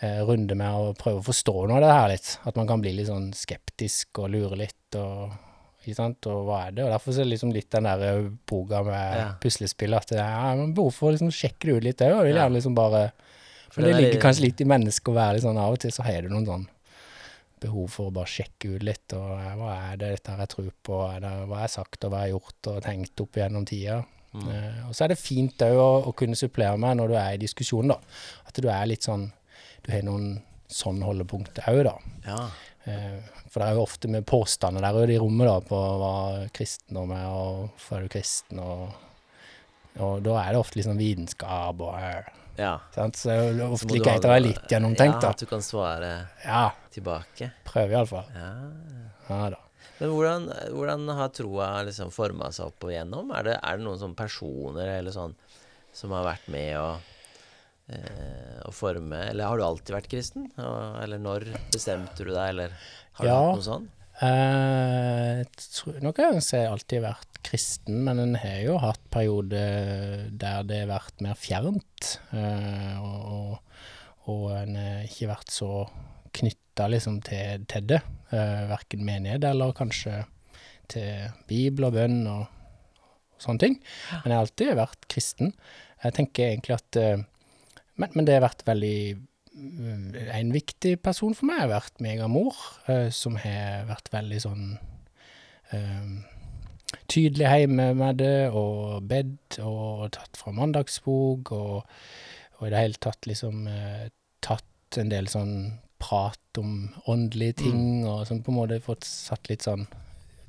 [SPEAKER 2] eh, runder med å prøve å forstå noe av det her litt. At man kan bli litt sånn skeptisk og lure litt og ikke sant, og hva er det? Og derfor så er det liksom litt den der boka med
[SPEAKER 1] Ja.
[SPEAKER 2] puslespill at det er ja, man har behov for å liksom sjekke det ut litt òg, og vil
[SPEAKER 1] Ja.
[SPEAKER 2] gjerne liksom bare
[SPEAKER 1] For
[SPEAKER 2] Men det
[SPEAKER 1] den er
[SPEAKER 2] ligger
[SPEAKER 1] litt-
[SPEAKER 2] kanskje litt i mennesket å være litt sånn av og til så har du noen sånn behov for å bare sjekke ut litt, og eh, hva er det dette her jeg tror på, hva er det, hva er sagt og hva er gjort og tenkt opp gjennom tida. Eh, og så er det fint òg å, å kunne supplere med når du er i diskusjon, da. At du er litt sånn Du har noen sånn holdepunkter òg, da.
[SPEAKER 1] Ja.
[SPEAKER 2] Eh, For det er jo ofte med påstander der ute i rommet da, på hva kristendom er, og hvorfor er du kristen, og, og da er det ofte liksom vitenskap og eh,
[SPEAKER 1] ja.
[SPEAKER 2] sant? Så det er jo
[SPEAKER 1] Så
[SPEAKER 2] ofte
[SPEAKER 1] må du
[SPEAKER 2] like
[SPEAKER 1] ha
[SPEAKER 2] greit å være
[SPEAKER 1] noe-
[SPEAKER 2] litt gjennomtenkt,
[SPEAKER 1] Ja, at du
[SPEAKER 2] da.
[SPEAKER 1] kan svare
[SPEAKER 2] Ja,
[SPEAKER 1] tilbake.
[SPEAKER 2] prøv iallfall.
[SPEAKER 1] Ja.
[SPEAKER 2] Ja da.
[SPEAKER 1] Men hvordan, hvordan har troa liksom forma seg opp og igjennom? Er det, er det noen sånne personer eller sånn som har vært med og eh, å forme Eller har du alltid vært kristen? Og, eller når bestemte du deg, eller har du
[SPEAKER 2] Ja.
[SPEAKER 1] hatt noe sånn?
[SPEAKER 2] Eh, jeg tror nok jeg kan si jeg alltid har vært kristen, men en har jo hatt perioder der det har vært mer fjernt. eh, og, og, og en har ikke vært så knytta liksom, til, til det. Uh, verken menighet eller kanskje til bibel og bønn og, sånne ting. Men jeg har alltid vært kristen. Jeg tenker egentlig at eh, men, men det har vært veldig Mm, En viktig person for meg har vært meg og mor, eh, som har vært veldig sånn eh, tydelig hjemme med det, og bedt, og tatt fra mandagsbok, og, og i det hele tatt liksom eh, tatt en del sånn prat om åndelige ting, og sånn på en måte fått satt litt sånn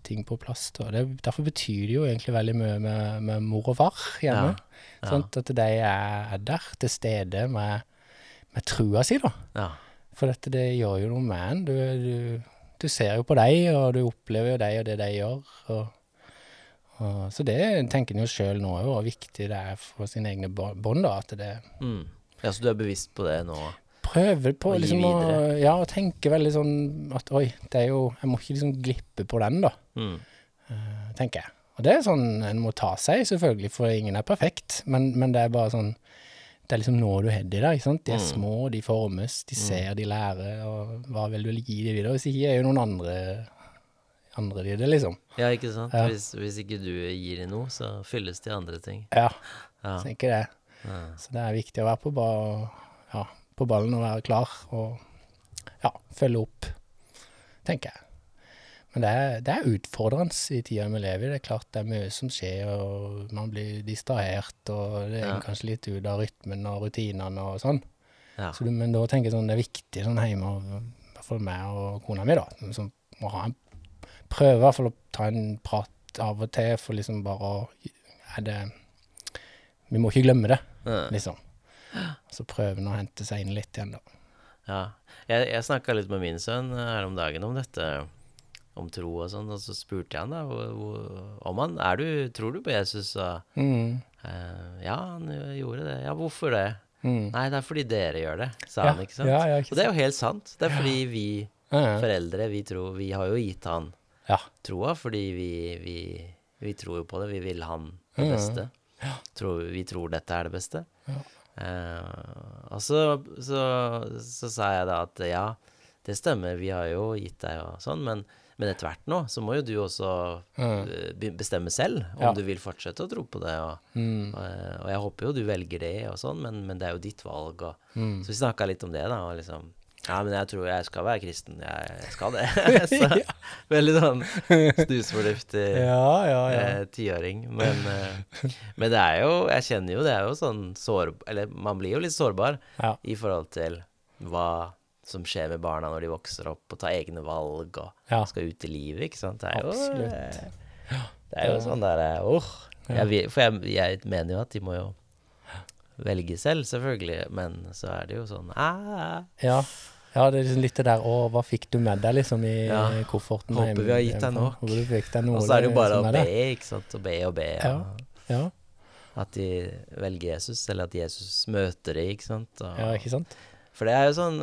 [SPEAKER 2] ting på plass. da. Det, derfor betyr det jo egentlig veldig mye med, med mor og far hjemme.
[SPEAKER 1] Ja, ja.
[SPEAKER 2] Sant? Sånn At de er, er der, til stede med, med trua si, da.
[SPEAKER 1] Ja.
[SPEAKER 2] For dette, det gjør jo noe med en. Du, du, du ser jo på dem, og du opplever jo dem og det de gjør. Og, og, så det tenker en jo sjøl nå, hvor viktig det er for sine egne bå- bånd. da, At det
[SPEAKER 1] Mm. ja, så du er bevisst på det nå?
[SPEAKER 2] prøver
[SPEAKER 1] Og
[SPEAKER 2] på
[SPEAKER 1] gi
[SPEAKER 2] liksom, å ja, og tenke veldig sånn at oi, det er jo, jeg må ikke liksom glippe på den, da,
[SPEAKER 1] Mm.
[SPEAKER 2] eh, tenker jeg. Og det er sånn en må ta seg, selvfølgelig, for ingen er perfekt. Men, men det er bare sånn Det er liksom nå du har de der. ikke sant? De er små, de formes, de ser, de lærer. Og hva vil du gi dem videre? Hvis ikke er jo noen andre andre de det, liksom.
[SPEAKER 1] Ja, ikke sant?
[SPEAKER 2] Ja.
[SPEAKER 1] Hvis, hvis ikke du gir i noe, så fylles det i andre ting.
[SPEAKER 2] Ja,
[SPEAKER 1] Ja.
[SPEAKER 2] så ikke det.
[SPEAKER 1] Ja.
[SPEAKER 2] Så det er viktig å være på, ba, ja, på ballen og være klar og ja, følge opp, tenker jeg. Men det er, det er utfordrende i tida vi lever i. Det er klart det er mye som skjer, og man blir distrahert, og det er
[SPEAKER 1] Ja.
[SPEAKER 2] kanskje litt ut av rytmen og rutinene og sånn.
[SPEAKER 1] Ja.
[SPEAKER 2] Så du, men da tenker jeg sånn, det er viktig sånn hjemme, og i hvert fall meg og kona mi, da, som må ha en prøve i hvert fall å ta en prat av og til, for liksom bare å er det, Vi må ikke glemme det
[SPEAKER 1] Ja.
[SPEAKER 2] liksom. Så prøver han å hente seg inn litt igjen, da.
[SPEAKER 1] Ja. Jeg, jeg snakka litt med min sønn her om dagen om dette, om tro og sånn, og så spurte jeg han da hvor- hvor- om han er du, tror du på Jesus. Og,
[SPEAKER 2] Mm.
[SPEAKER 1] eh, ja, han jo- gjorde det. Ja, hvorfor det? Nei, det er fordi dere gjør det, sa
[SPEAKER 2] Mm. Ja,
[SPEAKER 1] han. ikke sant?
[SPEAKER 2] ja, ja, ikke
[SPEAKER 1] og det er jo helt sant. Det er fordi vi
[SPEAKER 2] Ja, ja.
[SPEAKER 1] foreldre, vi tror Vi har jo gitt han
[SPEAKER 2] Ja.
[SPEAKER 1] troa fordi vi, vi, vi tror jo på det. Vi vil han det beste. Tror, vi tror dette er det beste. Eh, og så, så, så sa jeg da at ja, det stemmer, vi har jo gitt deg og sånn, men, men etter hvert nå så må jo du også eh, be- bestemme selv om
[SPEAKER 2] Ja.
[SPEAKER 1] du vil fortsette å tro på det. Og, eh, og, og jeg håper jo du velger det og sånn, men, men det er jo ditt valg. Og, Så vi snakka litt om det, da. og liksom ja, men jeg tror jeg skal være kristen. Jeg, jeg skal det. så, veldig sånn snusfornuftig
[SPEAKER 2] Ja, ja,
[SPEAKER 1] eh, tiåring. Men, eh, men det er jo Jeg kjenner jo det er jo sånn sår... Eller man blir jo litt sårbar
[SPEAKER 2] Ja.
[SPEAKER 1] i forhold til hva som skjer med barna når de vokser opp og tar egne valg og
[SPEAKER 2] Ja.
[SPEAKER 1] skal ut i livet, ikke sant. Det er jo,
[SPEAKER 2] Absolutt.
[SPEAKER 1] eh, Det er jo sånn derre Åh. Jeg vil- For jeg, jeg mener jo at de må jo velge selv, selvfølgelig, men så er det jo sånn ah,
[SPEAKER 2] ja. ja, det er liksom litt det der Å, hva fikk du med deg, liksom, i
[SPEAKER 1] Ja.
[SPEAKER 2] i kofferten?
[SPEAKER 1] Håper
[SPEAKER 2] hjemme-
[SPEAKER 1] vi har gitt deg
[SPEAKER 2] hjemmefra?
[SPEAKER 1] nok.
[SPEAKER 2] Håper du fikk deg noe.
[SPEAKER 1] Og så er det jo bare
[SPEAKER 2] som
[SPEAKER 1] å
[SPEAKER 2] er
[SPEAKER 1] be,
[SPEAKER 2] det.
[SPEAKER 1] ikke sant. Og be og be.
[SPEAKER 2] Ja.
[SPEAKER 1] og-
[SPEAKER 2] Ja.
[SPEAKER 1] At de velger Jesus, eller at Jesus møter dem, ikke sant. Og,
[SPEAKER 2] ja, ikke sant?
[SPEAKER 1] For det er jo sånn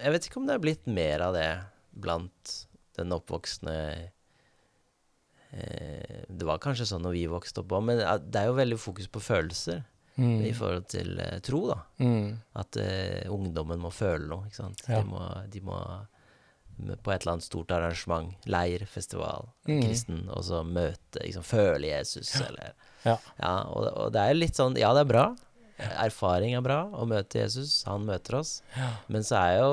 [SPEAKER 1] Jeg vet ikke om det er blitt mer av det blant den oppvoksende eh, Det var kanskje sånn når vi vokste opp òg, men eh, det er jo veldig fokus på følelser i
[SPEAKER 2] Mm.
[SPEAKER 1] forhold til eh, tro, da.
[SPEAKER 2] Mm.
[SPEAKER 1] At eh, ungdommen må føle noe, ikke sant.
[SPEAKER 2] Ja.
[SPEAKER 1] De, må, de må m- på et eller annet stort arrangement, leir, festival,
[SPEAKER 2] Mm.
[SPEAKER 1] kristen, og så møte liksom, Føle Jesus, eller
[SPEAKER 2] Ja.
[SPEAKER 1] ja, og, og det er jo litt sånn Ja, det er bra. Erfaring er bra å møte Jesus. Han møter oss. Men så er jo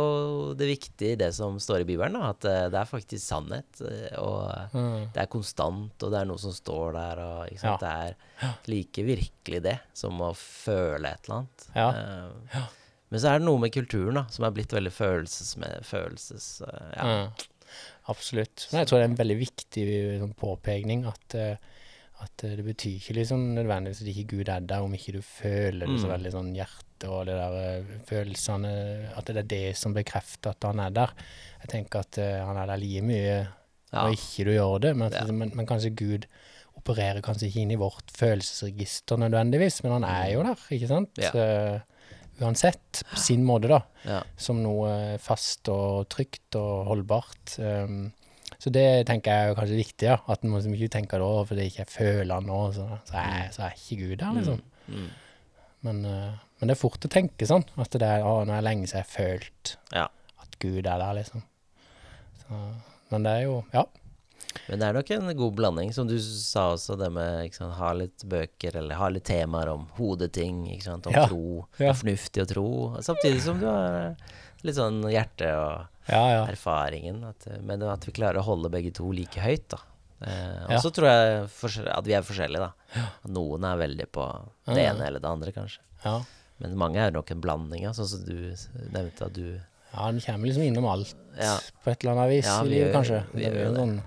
[SPEAKER 1] det viktig det som står i Bibelen, da, at eh, det er faktisk sannhet. eh, Og
[SPEAKER 2] Mm.
[SPEAKER 1] det er konstant, og det er noe som står der. Og, ikke sant? Det er like virkelig det som å føle et eller annet.
[SPEAKER 2] Ja.
[SPEAKER 1] Eh, Men så er det noe med kulturen da, som er blitt veldig følelses... Med, følelses eh, ja.
[SPEAKER 2] Ja. Mm. Absolutt. Men jeg tror det er en veldig viktig sånn, påpegning at, eh, at eh, det betyr ikke liksom nødvendigvis at ikke Gud er der, om ikke du føler det så
[SPEAKER 1] Mm.
[SPEAKER 2] veldig sånn hjerte og de der eh, følelsene At det er det som bekrefter at han er der. Jeg tenker at eh, han er der like mye
[SPEAKER 1] Ja.
[SPEAKER 2] når ikke du gjør det, men, at,
[SPEAKER 1] Ja.
[SPEAKER 2] men, men kanskje Gud opererer kanskje ikke inn i vårt følelsesregister nødvendigvis, men han er jo der, ikke sant?
[SPEAKER 1] Mm. Ja.
[SPEAKER 2] Eh, uansett, på sin måte, da.
[SPEAKER 1] Ja.
[SPEAKER 2] Som noe eh, fast og trygt og holdbart. Um, så det tenker jeg er jo kanskje viktig, ja. At man liksom ikke tenker da, fordi jeg ikke føler han nå, så, så, er,
[SPEAKER 1] Mm.
[SPEAKER 2] så er ikke Gud der, liksom. Men, eh, men det er fort å tenke sånn, at det er, å, nå er det lenge siden jeg har følt
[SPEAKER 1] Ja.
[SPEAKER 2] at Gud er der, liksom. Så, men det er jo, ja.
[SPEAKER 1] Men det er nok en god blanding, som du sa også, det med ikke sant, ha litt bøker eller ha litt temaer om hodeting, ikke sant, om
[SPEAKER 2] Ja,
[SPEAKER 1] tro,
[SPEAKER 2] ja.
[SPEAKER 1] fornuftig å tro, samtidig som du har litt sånn hjerte og
[SPEAKER 2] Ja, ja.
[SPEAKER 1] erfaringen, at, eh, men at vi klarer å holde begge to like høyt, da. Eh, og
[SPEAKER 2] Ja.
[SPEAKER 1] så tror jeg forskjell- at vi er forskjellige, da. Noen er veldig på det
[SPEAKER 2] Ja, ja.
[SPEAKER 1] ene eller det andre, kanskje.
[SPEAKER 2] ja.
[SPEAKER 1] Men mange er nok en blanding, ja, sånn som du s- nevnte at du
[SPEAKER 2] Ja, den kommer liksom innom alt
[SPEAKER 1] Ja.
[SPEAKER 2] på et eller annet vis
[SPEAKER 1] Ja,
[SPEAKER 2] i
[SPEAKER 1] vi
[SPEAKER 2] livet,
[SPEAKER 1] gjør-
[SPEAKER 2] kanskje.
[SPEAKER 1] vi
[SPEAKER 2] Det
[SPEAKER 1] gjør
[SPEAKER 2] blir jo
[SPEAKER 1] det.
[SPEAKER 2] en sånn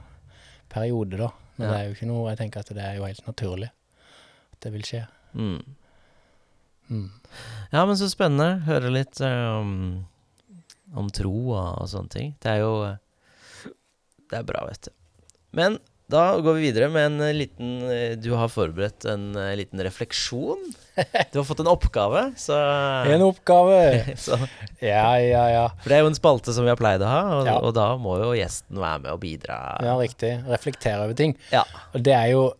[SPEAKER 2] periode, da. Men
[SPEAKER 1] Ja.
[SPEAKER 2] det er jo ikke noe Jeg tenker at det er jo helt naturlig at det vil skje.
[SPEAKER 1] mm.
[SPEAKER 2] Mm.
[SPEAKER 1] Ja, men så spennende. Høre litt eh, om, om tro og, og sånne ting. Det er jo eh, Det er bra, vet du. Men da går vi videre med en eh, liten eh, Du har forberedt en eh, liten refleksjon. Du har fått en oppgave, så,
[SPEAKER 2] En oppgave!
[SPEAKER 1] så
[SPEAKER 2] Ja, ja, ja.
[SPEAKER 1] For det er jo en spalte som vi har pleid å ha, og,
[SPEAKER 2] Ja.
[SPEAKER 1] og da må jo gjesten være med og bidra.
[SPEAKER 2] Ja, riktig. Reflektere over ting.
[SPEAKER 1] Ja.
[SPEAKER 2] Og det er jo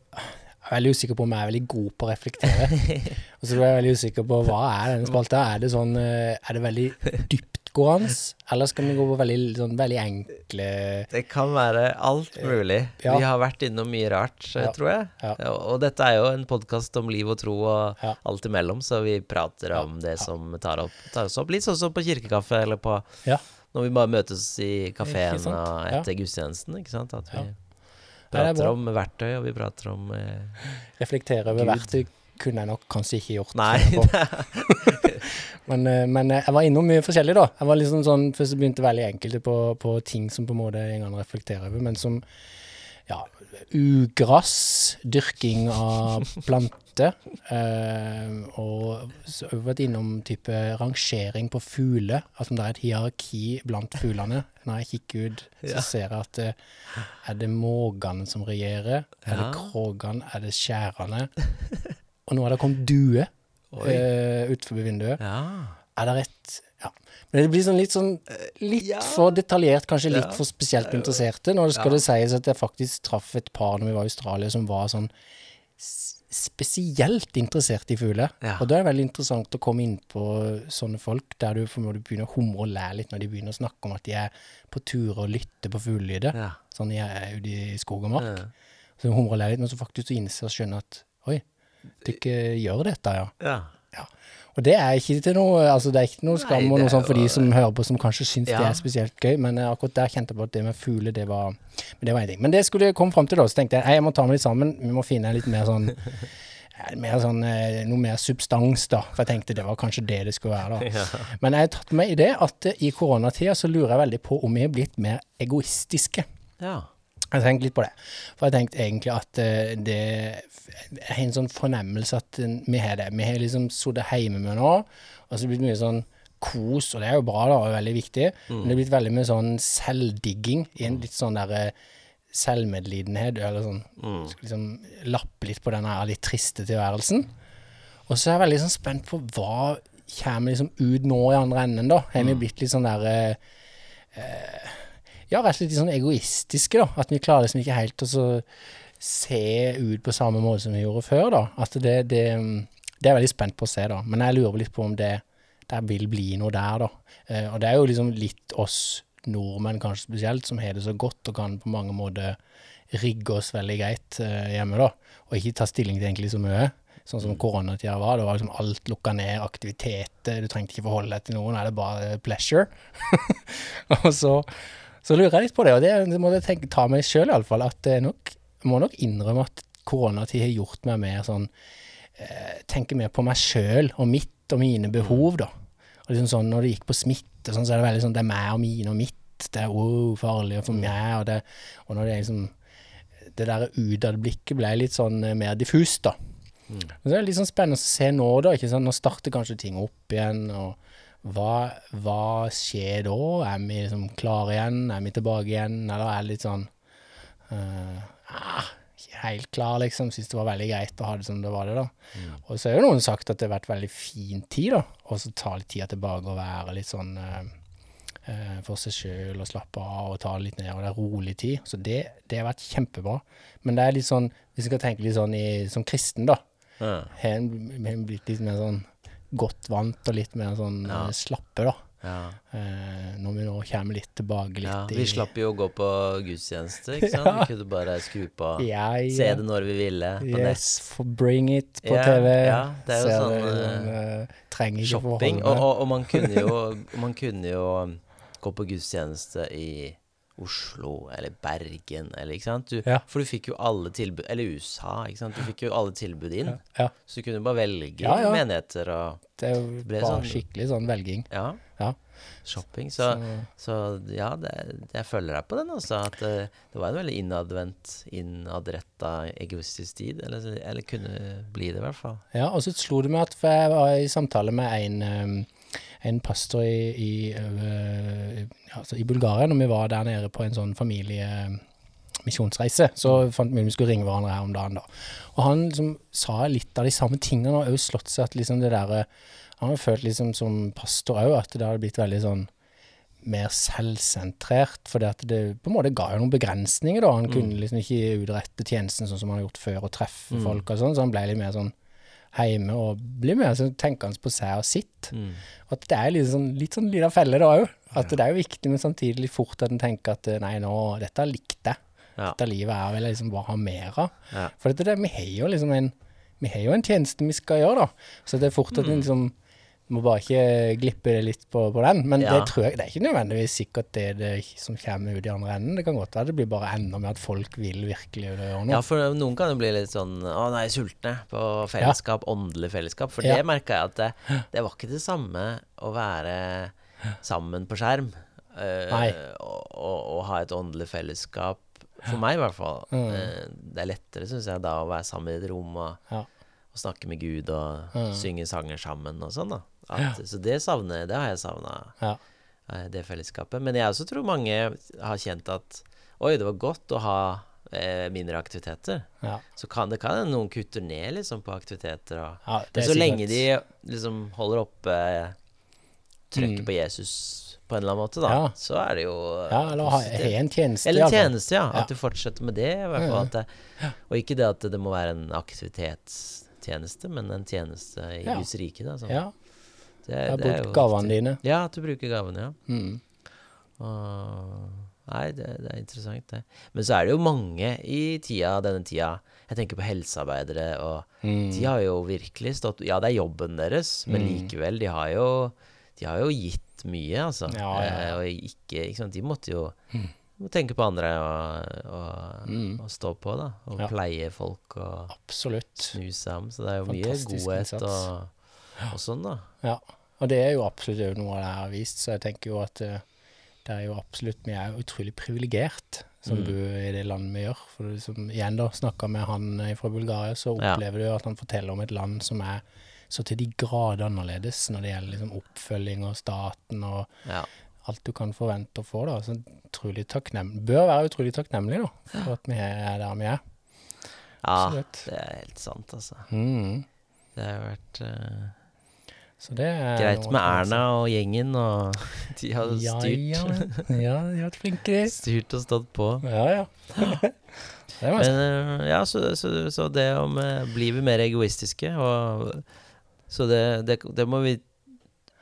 [SPEAKER 2] Jeg er veldig usikker på om jeg er veldig god på å reflektere. Og så ble jeg veldig usikker på hva er denne spalta. Er det sånn eh, Er det veldig dyptgående? Eller skal vi gå på veldig, sånn, veldig enkle
[SPEAKER 1] Det kan være alt mulig.
[SPEAKER 2] Eh, Ja.
[SPEAKER 1] Vi har vært innom mye rart, eh,
[SPEAKER 2] Ja.
[SPEAKER 1] tror jeg.
[SPEAKER 2] Ja.
[SPEAKER 1] Og, og dette er jo en podkast om liv og tro og
[SPEAKER 2] Ja.
[SPEAKER 1] alt imellom, så vi prater om det som tar, opp, tar oss opp. Litt sånn som på kirkekaffe, eller på
[SPEAKER 2] Ja.
[SPEAKER 1] når vi bare møtes i kafeen
[SPEAKER 2] Ikke sant?
[SPEAKER 1] og
[SPEAKER 2] Ja.
[SPEAKER 1] etter gudstjenesten. ikke sant? At vi
[SPEAKER 2] Ja. Nei, det er
[SPEAKER 1] prater
[SPEAKER 2] bra.
[SPEAKER 1] om verktøy, og vi prater om eh,
[SPEAKER 2] Reflektere over
[SPEAKER 1] Gud.
[SPEAKER 2] verktøy kunne jeg nok kanskje ikke gjort.
[SPEAKER 1] Nei.
[SPEAKER 2] kjenner jeg på. men, eh, men eh, jeg var innom mye forskjellig, da. Jeg var liksom sånn, Først så begynte jeg veldig enkelte på, på ting som på en måte jeg kan reflektere over, men som ja, ugress, dyrking av planter, eh, og så har vi vært innom type rangering på fugler, at om det er et hierarki blant fuglene. Når jeg kikker ut, så
[SPEAKER 1] Ja.
[SPEAKER 2] ser jeg at eh, er det måkene som regjerer? Er det
[SPEAKER 1] Ja.
[SPEAKER 2] krogene? Er det skjærene? Og nå er det kommet due
[SPEAKER 1] Oi.
[SPEAKER 2] eh, utenfor vinduet.
[SPEAKER 1] Ja.
[SPEAKER 2] Er det rett Ja. Men det blir sånn litt sånn Litt
[SPEAKER 1] ja.
[SPEAKER 2] for detaljert, kanskje litt
[SPEAKER 1] Ja.
[SPEAKER 2] for spesielt interesserte. Når det skal det sies at jeg faktisk traff et par når vi var i Australia som var sånn s- spesielt interessert i fugler.
[SPEAKER 1] Ja.
[SPEAKER 2] Og da er det veldig interessant å komme inn på sånne folk der du på en måte begynner å humre og le litt når de begynner å snakke om at de er på tur og lytter på fuglelyder.
[SPEAKER 1] Ja.
[SPEAKER 2] Sånn jeg er ute i skog og mark.
[SPEAKER 1] Ja.
[SPEAKER 2] Så humrer og ler litt, men så faktisk så innser og skjønner at oi, dere gjør dette, ja.
[SPEAKER 1] Ja.
[SPEAKER 2] Ja. Og det er ikke til noe altså det er ikke til noe
[SPEAKER 1] Nei,
[SPEAKER 2] skam og
[SPEAKER 1] det
[SPEAKER 2] noe
[SPEAKER 1] er
[SPEAKER 2] sånt for
[SPEAKER 1] jo-
[SPEAKER 2] de som hører på, som kanskje syns det
[SPEAKER 1] Ja.
[SPEAKER 2] er spesielt gøy, men eh, akkurat der kjente jeg på at det med fugler, det var Men det var en ting. Men det skulle jeg komme fram til, da. Så tenkte jeg hei, jeg må ta meg litt sammen. Vi må finne en litt mer sånn eh, Mer sånn, eh, noe mer substans, da. For jeg tenkte det var kanskje det det skulle være. da. Men jeg har tatt med i det at eh, i koronatida så lurer jeg veldig på om vi er blitt mer egoistiske.
[SPEAKER 1] ja.
[SPEAKER 2] Jeg har tenkt litt på det. For jeg tenkte egentlig at eh, det Jeg har en sånn fornemmelse at eh, vi har det. Vi har liksom sittet hjemme med nå, og så har det blitt mye sånn kos, og det er jo bra da, og veldig viktig, men det har blitt veldig mye sånn selvdigging. i en Litt sånn derre selvmedlidenhet, eller sånn Skal liksom lappe litt på den her litt triste tilværelsen. Og så er jeg veldig sånn spent på hva kommer liksom ut nå i andre enden, da. Har vi blitt litt sånn der eh, ja, rett og slett litt sånn egoistiske, da. At vi klarer liksom ikke helt å så se ut på samme måte som vi gjorde før, da. At det, det, det er jeg veldig spent på å se, da. Men jeg lurer litt på om det der vil bli noe der, da. Eh, og det er jo liksom litt oss nordmenn kanskje spesielt, som har det så godt og kan på mange måter rigge oss veldig greit eh, hjemme, da. Og ikke ta stilling til egentlig så mye. Sånn som koronatida var. Det var liksom alt lukka ned, aktiviteter, du trengte ikke forholde deg til noen, er det bare pleasure? og så så lurer jeg litt på det, og det, det må jeg tenke, ta meg sjøl iallfall, at jeg nok, må nok innrømme at koronatid har gjort meg mer sånn eh, Tenke mer på meg sjøl og mitt og mine behov, da. Og liksom sånn, Når det gikk på smitte, sånn, så er det veldig sånn det er meg og mine og mitt. Det er wow, farlig for meg. Og, det, og når det er liksom Det der utadblikket ble litt sånn eh, mer diffust, da. Men så er det litt sånn spennende å se nå, da. ikke sant? Nå starter kanskje ting opp igjen. og hva, hva skjer da? Er vi liksom klare igjen? Er vi tilbake igjen? Eller er det litt sånn eh, ah, ikke helt klar, liksom. Syns det var veldig greit å ha det som det var det, da. Og så er jo noen sagt at det har vært veldig fin tid, da. Og så ta litt tida tilbake og være litt sånn eh, eh, for seg sjøl og slappe av og ta det litt ned, og det er rolig tid. Så det, det har vært kjempebra. Men det er litt sånn, hvis en skal tenke litt sånn i, som kristen, da,
[SPEAKER 1] Ja.
[SPEAKER 2] har en har en blitt litt mer sånn godt vant og litt mer sånn eh, slappe, da.
[SPEAKER 1] Ja.
[SPEAKER 2] Eh, når vi nå kommer litt tilbake litt eh,
[SPEAKER 1] ja.
[SPEAKER 2] i
[SPEAKER 1] Vi slapp jo å gå på gudstjeneste, ikke sant? Vi kunne bare skru på
[SPEAKER 2] ja, ja.
[SPEAKER 1] Se det når vi ville på nett.
[SPEAKER 2] Yes, for bring it på
[SPEAKER 1] Ja,
[SPEAKER 2] TV.
[SPEAKER 1] ja, det er jo
[SPEAKER 2] Ser
[SPEAKER 1] sånn,
[SPEAKER 2] liksom, eh, trenger ikke
[SPEAKER 1] Shopping. Og,
[SPEAKER 2] forholde
[SPEAKER 1] og,
[SPEAKER 2] meg.
[SPEAKER 1] og man kunne jo Man kunne jo um, gå på gudstjeneste i Oslo eller Bergen eller ikke sant? Du,
[SPEAKER 2] Ja.
[SPEAKER 1] For du fikk jo alle tilbud Eller USA, ikke sant? Du fikk jo alle tilbud inn.
[SPEAKER 2] Ja,
[SPEAKER 1] Så du kunne bare velge
[SPEAKER 2] Ja, ja.
[SPEAKER 1] menigheter og
[SPEAKER 2] det er jo
[SPEAKER 1] ble
[SPEAKER 2] bare
[SPEAKER 1] sånn-
[SPEAKER 2] skikkelig sånn velging.
[SPEAKER 1] Ja.
[SPEAKER 2] Ja.
[SPEAKER 1] Shopping. Så, så ja, det, jeg følger deg på den også. At eh, det var en veldig innadvendt, innadretta, egoistisk tid. Eller, eller kunne bli det, i hvert fall.
[SPEAKER 2] Ja, og så slo det meg at for jeg var i samtale med en, eh, en pastor i, i, eh, altså i Bulgaria, når vi var der nede på en sånn familiemisjonsreise, så fant vi ut vi skulle ringe hverandre her om dagen da. Og han liksom sa litt av de samme tingene, og har jo slått seg at liksom det der, eh, han har følt liksom som pastor også, at det hadde blitt veldig sånn, mer selvsentrert, for det, at det på en måte ga jo noen begrensninger. da, Han kunne liksom ikke utrette tjenesten sånn som han har gjort før, og treffe folk og sånn, så han ble litt mer sånn hjemme og blir mer sånn tenkende på seg og sitt.
[SPEAKER 1] Mm.
[SPEAKER 2] Og At det er litt sånn, litt sånn liten felle da òg. At det er jo viktig, men samtidig litt fort at en tenker at eh, nei, nå, dette likte jeg.
[SPEAKER 1] Ja.
[SPEAKER 2] Dette livet her vil jeg liksom bare ha mer av.
[SPEAKER 1] Ja.
[SPEAKER 2] For dette, der, vi har jo liksom en vi har jo en tjeneste vi skal gjøre, da. Så det er fort
[SPEAKER 1] Mm.
[SPEAKER 2] at en liksom må bare ikke glippe det litt på, på den. Men
[SPEAKER 1] Ja.
[SPEAKER 2] det tror jeg, det er ikke nødvendigvis sikkert det, det som kommer ut i andre enden. Det kan godt være det blir bare enda mer at folk vil virkelig gjøre noe.
[SPEAKER 1] Ja, for noen kan jo bli litt sånn Å nei, sultne på fellesskap, åndelig fellesskap. For
[SPEAKER 2] Ja.
[SPEAKER 1] det merka jeg at det, det var ikke det samme å være sammen på skjerm eh,
[SPEAKER 2] Nei.
[SPEAKER 1] og, og, og ha et åndelig fellesskap. For meg, i hvert fall.
[SPEAKER 2] Mm.
[SPEAKER 1] Eh, det er lettere, syns jeg, da å være sammen i et rom og,
[SPEAKER 2] Ja. Mm.
[SPEAKER 1] og snakke med Gud og synge sanger sammen og sånn, da. At, Så det savner Det har jeg savna
[SPEAKER 2] Ja.
[SPEAKER 1] eh, det fellesskapet. Men jeg også tror mange har kjent at oi, det var godt å ha eh, mindre aktiviteter.
[SPEAKER 2] Ja.
[SPEAKER 1] Så kan det kan hende noen kutter ned liksom, på aktiviteter. Og,
[SPEAKER 2] Ja,
[SPEAKER 1] men
[SPEAKER 2] det er
[SPEAKER 1] så
[SPEAKER 2] sikkert-
[SPEAKER 1] lenge de liksom, holder oppe eh, trykket på Jesus på en eller annen måte, da,
[SPEAKER 2] Mm. Ja.
[SPEAKER 1] så er det jo eh,
[SPEAKER 2] Ja, eller ha, sånn.
[SPEAKER 1] positivt.
[SPEAKER 2] ha en tjeneste.
[SPEAKER 1] Eller en
[SPEAKER 2] iallfall.
[SPEAKER 1] tjeneste, ja. At du fortsetter med det. I hvert
[SPEAKER 2] Mm.
[SPEAKER 1] fall, at det, og ikke det at det må være en aktivitetstjeneste, men en tjeneste i
[SPEAKER 2] Ja.
[SPEAKER 1] Guds rike. Da, sånn.
[SPEAKER 2] Ja,
[SPEAKER 1] det,
[SPEAKER 2] jeg har
[SPEAKER 1] det er
[SPEAKER 2] brukt
[SPEAKER 1] jo
[SPEAKER 2] gavene dine.
[SPEAKER 1] ja, at du bruker gavene, ja.
[SPEAKER 2] Mm.
[SPEAKER 1] Og, nei, det, det er interessant, det. Men så er det jo mange i tida, denne tida Jeg tenker på helsearbeidere, og
[SPEAKER 2] Mm.
[SPEAKER 1] de har jo virkelig stått Ja, det er jobben deres, men likevel, de har jo, de har jo gitt mye, altså.
[SPEAKER 2] Ja, ja, Hm.
[SPEAKER 1] Eh,
[SPEAKER 2] ja.
[SPEAKER 1] Og ikke, ikke sant? De måtte jo må tenke på andre og, og, og stå på, da. Og
[SPEAKER 2] Mm. Ja.
[SPEAKER 1] pleie folk og
[SPEAKER 2] Absolutt.
[SPEAKER 1] snu sammen. Så det er jo mye
[SPEAKER 2] Fantastisk
[SPEAKER 1] godhet
[SPEAKER 2] innsats.
[SPEAKER 1] og, og sånn, da.
[SPEAKER 2] Ja. Og det er jo absolutt jo noe det har vist, så jeg tenker jo at eh, det er jo absolutt, vi er jo utrolig privilegert som
[SPEAKER 1] Mm.
[SPEAKER 2] bor i det landet vi gjør. For det er liksom, igjen da, snakket med han eh, fra Bulgaria, så
[SPEAKER 1] Ja.
[SPEAKER 2] opplever du at han forteller om et land som er så til de grader annerledes når det gjelder liksom, oppfølging og staten og
[SPEAKER 1] Ja.
[SPEAKER 2] alt du kan forvente å få. da, så utrolig takknem- Bør være utrolig takknemlig da, for at vi er der vi er.
[SPEAKER 1] ja
[SPEAKER 2] Absolutt.
[SPEAKER 1] det er helt sant, altså.
[SPEAKER 2] Mm.
[SPEAKER 1] Det har vært eh,
[SPEAKER 2] Så det er
[SPEAKER 1] Greit
[SPEAKER 2] noe
[SPEAKER 1] med
[SPEAKER 2] å ta seg.
[SPEAKER 1] Erna og gjengen, og de har
[SPEAKER 2] Ja,
[SPEAKER 1] styrt,
[SPEAKER 2] ja, men- ja, de har vært flinke, de.
[SPEAKER 1] styrt og stått på.
[SPEAKER 2] Ja, ja. Det var
[SPEAKER 1] Men eh, ja, så, så, så det om eh, Blir vi mer egoistiske? Og, så det, det, det må vi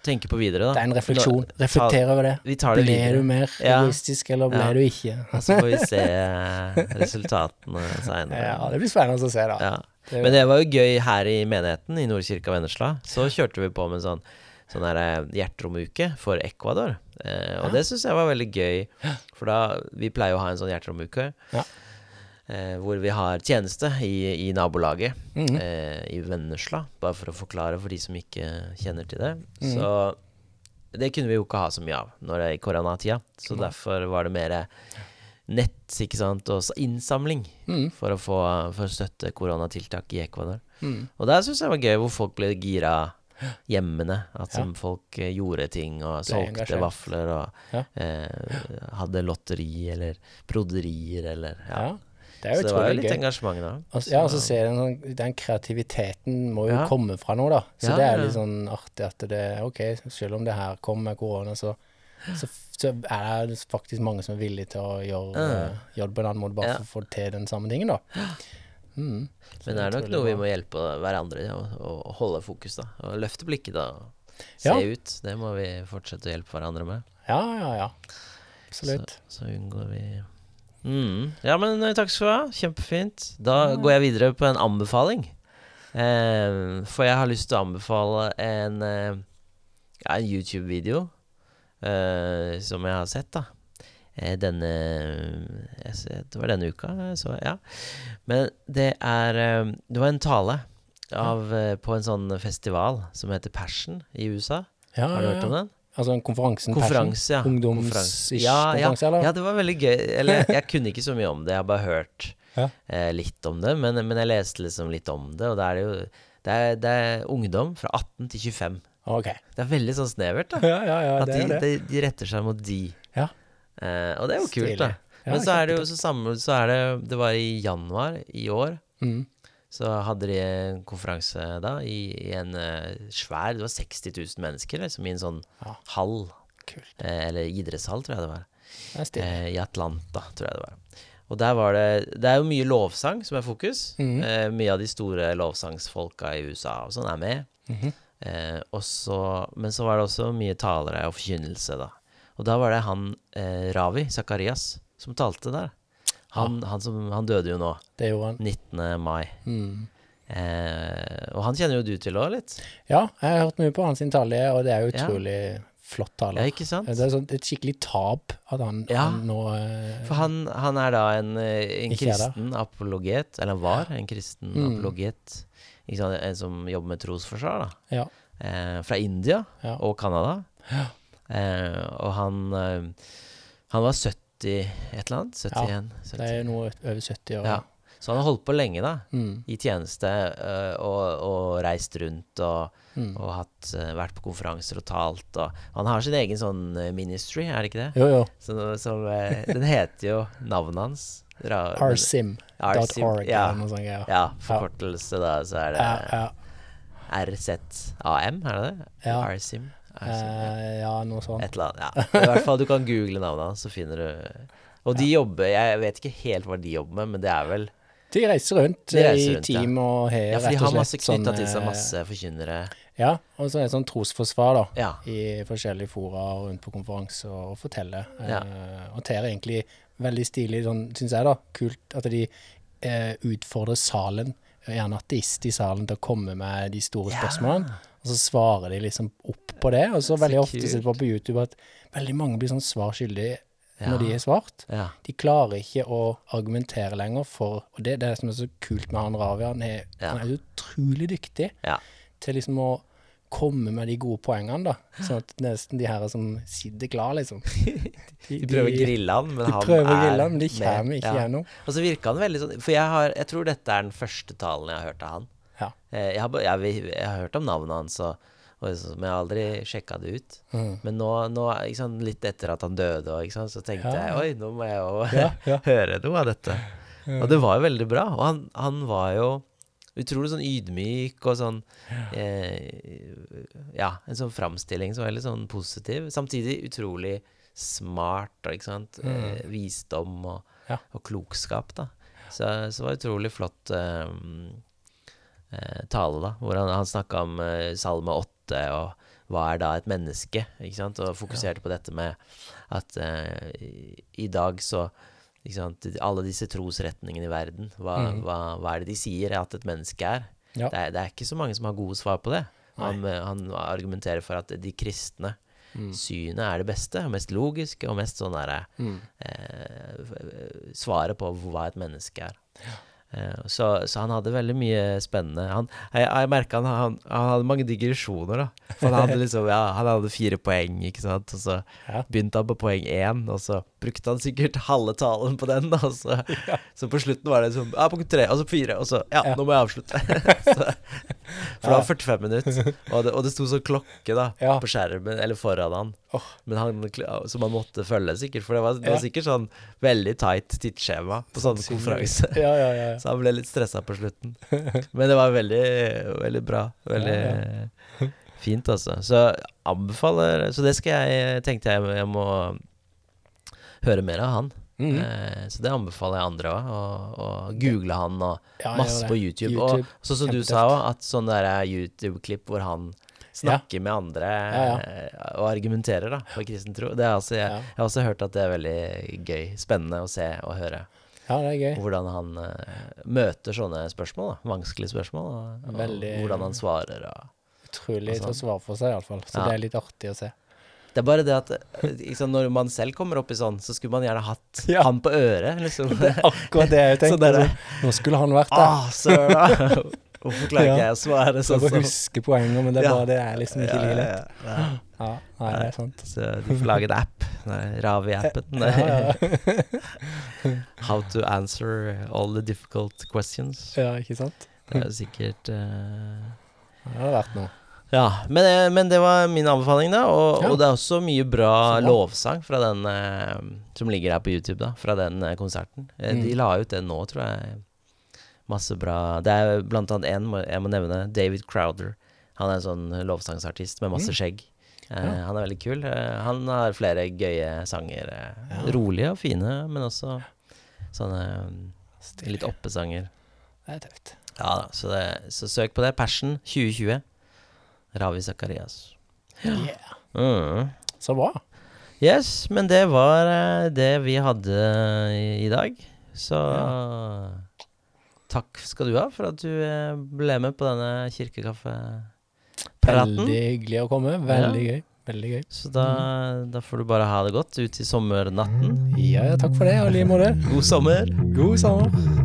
[SPEAKER 1] tenke på videre, da.
[SPEAKER 2] det er en refleksjon.
[SPEAKER 1] Nå-
[SPEAKER 2] Reflekter over det.
[SPEAKER 1] Ta, vi tar det
[SPEAKER 2] Ble du
[SPEAKER 1] videre.
[SPEAKER 2] mer
[SPEAKER 1] Ja.
[SPEAKER 2] egoistisk, eller ble
[SPEAKER 1] Ja.
[SPEAKER 2] du ikke?
[SPEAKER 1] Og så får vi se eh, resultatene seinere.
[SPEAKER 2] Ja, det blir spennende å se, da.
[SPEAKER 1] Ja.
[SPEAKER 2] Det er jo-
[SPEAKER 1] Men det var jo gøy her i menigheten, i Nordkirka Vennesla. Så kjørte vi på med en sånn, sånn her, eh, hjerteromuke for Ecuador. Eh, og det syns jeg var veldig gøy, for da Vi pleier å ha en sånn hjerteromuke.
[SPEAKER 2] Ja.
[SPEAKER 1] Eh, hvor vi har tjeneste i, i nabolaget
[SPEAKER 2] Mhm.
[SPEAKER 1] eh, i Vennesla. Bare for å forklare for de som ikke kjenner til det.
[SPEAKER 2] Mm.
[SPEAKER 1] Så det kunne vi jo ikke ha så mye av når det er i koronatida. Så derfor var det mer nett ikke sant, og s- innsamling
[SPEAKER 2] mm,
[SPEAKER 1] for å få for å støtte koronatiltak i Ecuador.
[SPEAKER 2] mm.
[SPEAKER 1] Og der syns jeg var gøy hvor folk ble gira hjemmene. At som folk eh, gjorde ting og solgte
[SPEAKER 2] engasjert.
[SPEAKER 1] vafler og
[SPEAKER 2] Ja.
[SPEAKER 1] eh, hadde lotteri eller broderier eller ja.
[SPEAKER 2] Ja. Det er
[SPEAKER 1] så
[SPEAKER 2] jo
[SPEAKER 1] det var jo
[SPEAKER 2] utrolig
[SPEAKER 1] litt
[SPEAKER 2] gøy.
[SPEAKER 1] engasjement da.
[SPEAKER 2] Altså, ja, og så ser jeg den, sånn- den kreativiteten må jo
[SPEAKER 1] Ja.
[SPEAKER 2] komme fra noe, da. Så
[SPEAKER 1] Ja,
[SPEAKER 2] det
[SPEAKER 1] ja,
[SPEAKER 2] er
[SPEAKER 1] ja.
[SPEAKER 2] litt sånn artig at det OK, selv om det her kom med korona, så, så, så er det faktisk mange som er villige til å gjøre, eh, gjøre det på en annen måte, bare
[SPEAKER 1] Ja.
[SPEAKER 2] for å få til den samme tingen, da. Mm. Så
[SPEAKER 1] Men det er nok
[SPEAKER 2] utrolig
[SPEAKER 1] noe vi
[SPEAKER 2] bra.
[SPEAKER 1] må hjelpe hverandre i, å- å holde fokus, da. Og løfte blikket, da. Og se
[SPEAKER 2] Ja.
[SPEAKER 1] ut. Det må vi fortsette å hjelpe hverandre med.
[SPEAKER 2] Ja, ja, ja. Absolutt.
[SPEAKER 1] Så unngår vi mm. Ja, men eh, takk skal du ha. Kjempefint. Da går jeg videre på en anbefaling. Eh, for jeg har lyst til å anbefale en, eh, ja, en YouTube-video eh, som jeg har sett, da. Eh, Denne jeg ser, Det var denne uka, jeg så ja. Men det er eh, Det var en tale av, eh, på en sånn festival som heter Passion i USA.
[SPEAKER 2] Ja,
[SPEAKER 1] Har du
[SPEAKER 2] ja,
[SPEAKER 1] hørt om
[SPEAKER 2] ja.
[SPEAKER 1] den?
[SPEAKER 2] Altså en konferansen
[SPEAKER 1] Konferanse, ja.
[SPEAKER 2] Passion.
[SPEAKER 1] Konferanse.
[SPEAKER 2] Ungdoms-ish
[SPEAKER 1] Ja, ja.
[SPEAKER 2] konferanse, eller?
[SPEAKER 1] Ja, det var veldig gøy. Eller jeg kunne ikke så mye om det, jeg har bare hørt
[SPEAKER 2] Ja.
[SPEAKER 1] eh, litt om det. Men, men jeg leste liksom litt om det, og da er det jo det er, det er ungdom fra 18 til 25.
[SPEAKER 2] OK.
[SPEAKER 1] Det er veldig sånn snevert, da.
[SPEAKER 2] Ja, ja, ja,
[SPEAKER 1] At
[SPEAKER 2] det
[SPEAKER 1] de,
[SPEAKER 2] er det.
[SPEAKER 1] de, de retter seg mot de.
[SPEAKER 2] Ja.
[SPEAKER 1] Eh, og det er jo
[SPEAKER 2] Stilig.
[SPEAKER 1] kult, da.
[SPEAKER 2] Ja,
[SPEAKER 1] Men så er det jo så samme så er det, det var i januar i år.
[SPEAKER 2] Mm.
[SPEAKER 1] Så hadde de en konferanse da i, i en eh, svær Det var 60 000 mennesker liksom, i en sånn
[SPEAKER 2] Ja.
[SPEAKER 1] hall.
[SPEAKER 2] Kult.
[SPEAKER 1] Eh, eller idrettshall, tror jeg det var.
[SPEAKER 2] Det er stilig.
[SPEAKER 1] Eh, I Atlanta, tror jeg det var. Og der var det Det er jo mye lovsang som er fokus.
[SPEAKER 2] Mhm.
[SPEAKER 1] Eh, mye av de store lovsangsfolka i USA og sånn er med.
[SPEAKER 2] Mhm.
[SPEAKER 1] Eh, og så, men så var det også mye talere og forkynnelse, da. Og da var det han eh, Ravi Zakarias som talte der. Han,
[SPEAKER 2] Ah.
[SPEAKER 1] han, som, han døde jo nå,
[SPEAKER 2] Det gjorde han.
[SPEAKER 1] 19. mai.
[SPEAKER 2] Mm.
[SPEAKER 1] Eh, og han kjenner jo du til òg, litt.
[SPEAKER 2] Ja, jeg har hørt mye på hans sin tale, og det er jo
[SPEAKER 1] Ja.
[SPEAKER 2] utrolig flott
[SPEAKER 1] Ja,
[SPEAKER 2] tale.
[SPEAKER 1] ikke sant?
[SPEAKER 2] Det er sånn, et skikkelig tap at han,
[SPEAKER 1] Ja.
[SPEAKER 2] han nå eh,
[SPEAKER 1] For han, han er da en, eh, en
[SPEAKER 2] Ikke er det.
[SPEAKER 1] kristen apologet, eller han var en kristen
[SPEAKER 2] Mm.
[SPEAKER 1] apologet, ikke sant? en som jobber med trosforsvar, da.
[SPEAKER 2] Ja.
[SPEAKER 1] Eh, fra India
[SPEAKER 2] Ja.
[SPEAKER 1] og Canada. Eh, og han, eh, han var 70 et eller annet. 71.
[SPEAKER 2] Det
[SPEAKER 1] 70.
[SPEAKER 2] er jo noe over 70 år.
[SPEAKER 1] Ja. Så han har holdt på lenge, da.
[SPEAKER 2] Mm.
[SPEAKER 1] I tjeneste eh, og, og reist rundt og,
[SPEAKER 2] Mm.
[SPEAKER 1] og hatt, eh, vært på konferanser og talt. Og han har sin egen sånn eh, ministry, er det ikke det?
[SPEAKER 2] Jo, jo.
[SPEAKER 1] Som, som, eh, den heter jo navnet hans. Ra- men- RSIM,
[SPEAKER 2] rsim.org
[SPEAKER 1] ja.
[SPEAKER 2] eller noe sånt. Ja.
[SPEAKER 1] Ja, forkortelse da, så er det
[SPEAKER 2] Ja, ja.
[SPEAKER 1] RZAM, er det det?
[SPEAKER 2] Ja.
[SPEAKER 1] RSIM? RSIM.
[SPEAKER 2] Eh, ja, noe sånt.
[SPEAKER 1] Et eller annet, ja. I hvert fall du kan google navnet hans, så finner du Og de jobber Jeg vet ikke helt hva de jobber med, men det er vel
[SPEAKER 2] De reiser rundt
[SPEAKER 1] De reiser
[SPEAKER 2] eh, i
[SPEAKER 1] rundt, ja.
[SPEAKER 2] team og har
[SPEAKER 1] Ja, for de
[SPEAKER 2] rett og
[SPEAKER 1] har
[SPEAKER 2] slett
[SPEAKER 1] masse knytta til seg
[SPEAKER 2] sånne-
[SPEAKER 1] masse forkynnere.
[SPEAKER 2] Ja, og så er det sånn trosforsvar, da.
[SPEAKER 1] Ja.
[SPEAKER 2] i forskjellige fora og rundt på konferanser og fortelle.
[SPEAKER 1] Ja.
[SPEAKER 2] Eh, og Tere er egentlig veldig stilig, sånn, syns jeg, da. Kult at de eh, utfordrer salen, gjerne ateist i salen, til å komme med de store
[SPEAKER 1] Ja.
[SPEAKER 2] spørsmålene. Og så svarer de liksom opp på det. Og så veldig
[SPEAKER 1] Så
[SPEAKER 2] ofte
[SPEAKER 1] kult.
[SPEAKER 2] ser du bare på YouTube at veldig mange blir sånn svar skyldig
[SPEAKER 1] Ja.
[SPEAKER 2] når de har svart.
[SPEAKER 1] Ja.
[SPEAKER 2] De klarer ikke å argumentere lenger for Og det, det er det som er så kult med han Ravi. Han er,
[SPEAKER 1] Ja.
[SPEAKER 2] han er utrolig dyktig
[SPEAKER 1] Ja.
[SPEAKER 2] til liksom å komme med de gode poengene, da. Sånn at nesten de her som sitter klar, liksom.
[SPEAKER 1] De prøver å grille han, men
[SPEAKER 2] De
[SPEAKER 1] han
[SPEAKER 2] prøver å
[SPEAKER 1] er
[SPEAKER 2] grille han, men de
[SPEAKER 1] med.
[SPEAKER 2] kommer ikke gjennom.
[SPEAKER 1] Og så virka han veldig sånn For jeg, har, jeg tror dette er den første talen jeg har hørt av han.
[SPEAKER 2] Ja.
[SPEAKER 1] Eh, Jeg har, ba- jeg, vil- jeg har hørt om navnet hans, og, og så- men jeg har aldri sjekka det ut.
[SPEAKER 2] Mm.
[SPEAKER 1] Men nå, nå ikke sant, litt etter at han døde, og, ikke sant, så tenkte
[SPEAKER 2] Ja.
[SPEAKER 1] jeg oi, nå må jeg jo
[SPEAKER 2] Ja, ja.
[SPEAKER 1] høre noe av dette. Og det var jo veldig bra. Og han, han var jo utrolig sånn ydmyk og sånn eh, Ja, en sånn framstilling som var veldig sånn positiv. Samtidig utrolig smart, og, ikke sant. Eh, visdom og,
[SPEAKER 2] Mm. Ja.
[SPEAKER 1] og klokskap, da. Så, så var det utrolig flott eh, eh, tale, da. Hvor han, han snakka om eh, Salme 8 og hva er da et menneske, ikke sant? Og fokuserte på dette med at eh, i, i dag så ikke sant? Alle disse trosretningene i verden, hva, hva, hva er det de sier at et menneske er?
[SPEAKER 2] Ja.
[SPEAKER 1] Det, er? det er ikke så mange som har gode svar på det. Han, eh, han argumenterer for at de kristne synet er det beste, og mest logiske, og mest sånn derre eh, f- Svaret på hva et menneske er. Eh, Så, så han hadde veldig mye spennende Han, jeg jeg merka han, han, han hadde mange digresjoner, da. For han hadde liksom ja, Han hadde fire poeng, ikke sant. Og så
[SPEAKER 2] Ja.
[SPEAKER 1] begynte han på poeng én, og så brukte han sikkert halve talen på den. da, Og så, liksom, så på slutten var det sånn Ja, punkt tre, og så fire, og så Ja,
[SPEAKER 2] Ja.
[SPEAKER 1] nå må jeg avslutte. så, For det var 45 minutter, og det, og det sto sånn klokke da
[SPEAKER 2] Ja.
[SPEAKER 1] på skjermen eller foran han.
[SPEAKER 2] Åh.
[SPEAKER 1] Men han kl- så man måtte følge, sikkert. For det var, det
[SPEAKER 2] Ja.
[SPEAKER 1] var sikkert sånn veldig tight tidsskjema på sånne konferanser.
[SPEAKER 2] Ja, ja, ja. ja.
[SPEAKER 1] Så han ble litt stressa på slutten. Men det var veldig, veldig bra. Veldig fint, altså. Så anbefaler Så det skal jeg Tenkte jeg jeg må høre mer av han.
[SPEAKER 2] Mhm.
[SPEAKER 1] Eh, Så det anbefaler jeg andre òg. Å å google han og
[SPEAKER 2] Ja, jeg gjør
[SPEAKER 1] masse
[SPEAKER 2] det.
[SPEAKER 1] på YouTube.
[SPEAKER 2] YouTube,
[SPEAKER 1] og sånn som du
[SPEAKER 2] kjempetøft.
[SPEAKER 1] sa òg, at sånn der er YouTube-klipp hvor han snakker med andre
[SPEAKER 2] Ja, ja.
[SPEAKER 1] eh, og argumenterer da for kristen tro. Det er altså, jeg,
[SPEAKER 2] Ja.
[SPEAKER 1] jeg har også hørt at det er veldig gøy. Spennende å se og høre.
[SPEAKER 2] Ja, det er gøy.
[SPEAKER 1] Og hvordan han eh, møter sånne spørsmål. Da. Vanskelige spørsmål. Og, og
[SPEAKER 2] Veldig-
[SPEAKER 1] hvordan han svarer. Og.
[SPEAKER 2] Utrolig
[SPEAKER 1] Altså.
[SPEAKER 2] til å svare for seg, iallfall. Så
[SPEAKER 1] Ja.
[SPEAKER 2] det er litt artig å se.
[SPEAKER 1] Det er bare det at eh, ikke sant, når man selv kommer opp i sånn, så skulle man gjerne hatt
[SPEAKER 2] Ja.
[SPEAKER 1] han på øret. Liksom.
[SPEAKER 2] Akkurat det jeg
[SPEAKER 1] Så det
[SPEAKER 2] tenkte.
[SPEAKER 1] er det.
[SPEAKER 2] altså. Nå skulle han vært der.
[SPEAKER 1] ah, søren! Hvorfor klarer
[SPEAKER 2] Ja.
[SPEAKER 1] ikke jeg å svare
[SPEAKER 2] Så
[SPEAKER 1] sånn
[SPEAKER 2] jeg bare
[SPEAKER 1] som
[SPEAKER 2] husker poenget, men det er
[SPEAKER 1] Ja.
[SPEAKER 2] bare det er liksom ikke like lett.
[SPEAKER 1] ja, ja.
[SPEAKER 2] Ja, nei, det er sant.
[SPEAKER 1] Så eh, du får lage en app. Nei, Ravi-appen.
[SPEAKER 2] Ja, ja.
[SPEAKER 1] How to answer all the difficult questions.
[SPEAKER 2] ja, ikke sant?
[SPEAKER 1] Det er jo sikkert eh,
[SPEAKER 2] Ja, Det hadde vært noe.
[SPEAKER 1] Ja, men, eh, men det var min anbefaling, da. Og,
[SPEAKER 2] Ja.
[SPEAKER 1] og det er også mye bra
[SPEAKER 2] Så bra.
[SPEAKER 1] lovsang fra den eh, som ligger her på YouTube, da. Fra den eh, konserten. Eh, De
[SPEAKER 2] Mm.
[SPEAKER 1] la ut den nå, tror jeg. Masse bra Det er blant annet én jeg må nevne. David Crowder. Han er en sånn lovsangsartist med masse skjegg. Eh,
[SPEAKER 2] Mm. Ja.
[SPEAKER 1] Han er veldig kul. Eh, han har flere gøye sanger. Eh,
[SPEAKER 2] Ja.
[SPEAKER 1] Rolige og fine, men også sånne eh, litt oppesanger.
[SPEAKER 2] Det er tøft.
[SPEAKER 1] Ja da, så, det, så søk på det. Passion 2020. Ravi Zakarias.
[SPEAKER 2] Yeah.
[SPEAKER 1] Mm.
[SPEAKER 2] Så bra.
[SPEAKER 1] Yes, men det var eh, det vi hadde eh, i, i dag. Så takk skal du ha for at du eh, ble med på denne kirkekaffepraten.
[SPEAKER 2] Veldig hyggelig å komme. Veldig gøy. Veldig gøy.
[SPEAKER 1] Så da, da får du bare ha det godt ut i sommernatten.
[SPEAKER 2] Ja, ja, takk for det, og i like måte.
[SPEAKER 1] God sommer!
[SPEAKER 2] God sommer.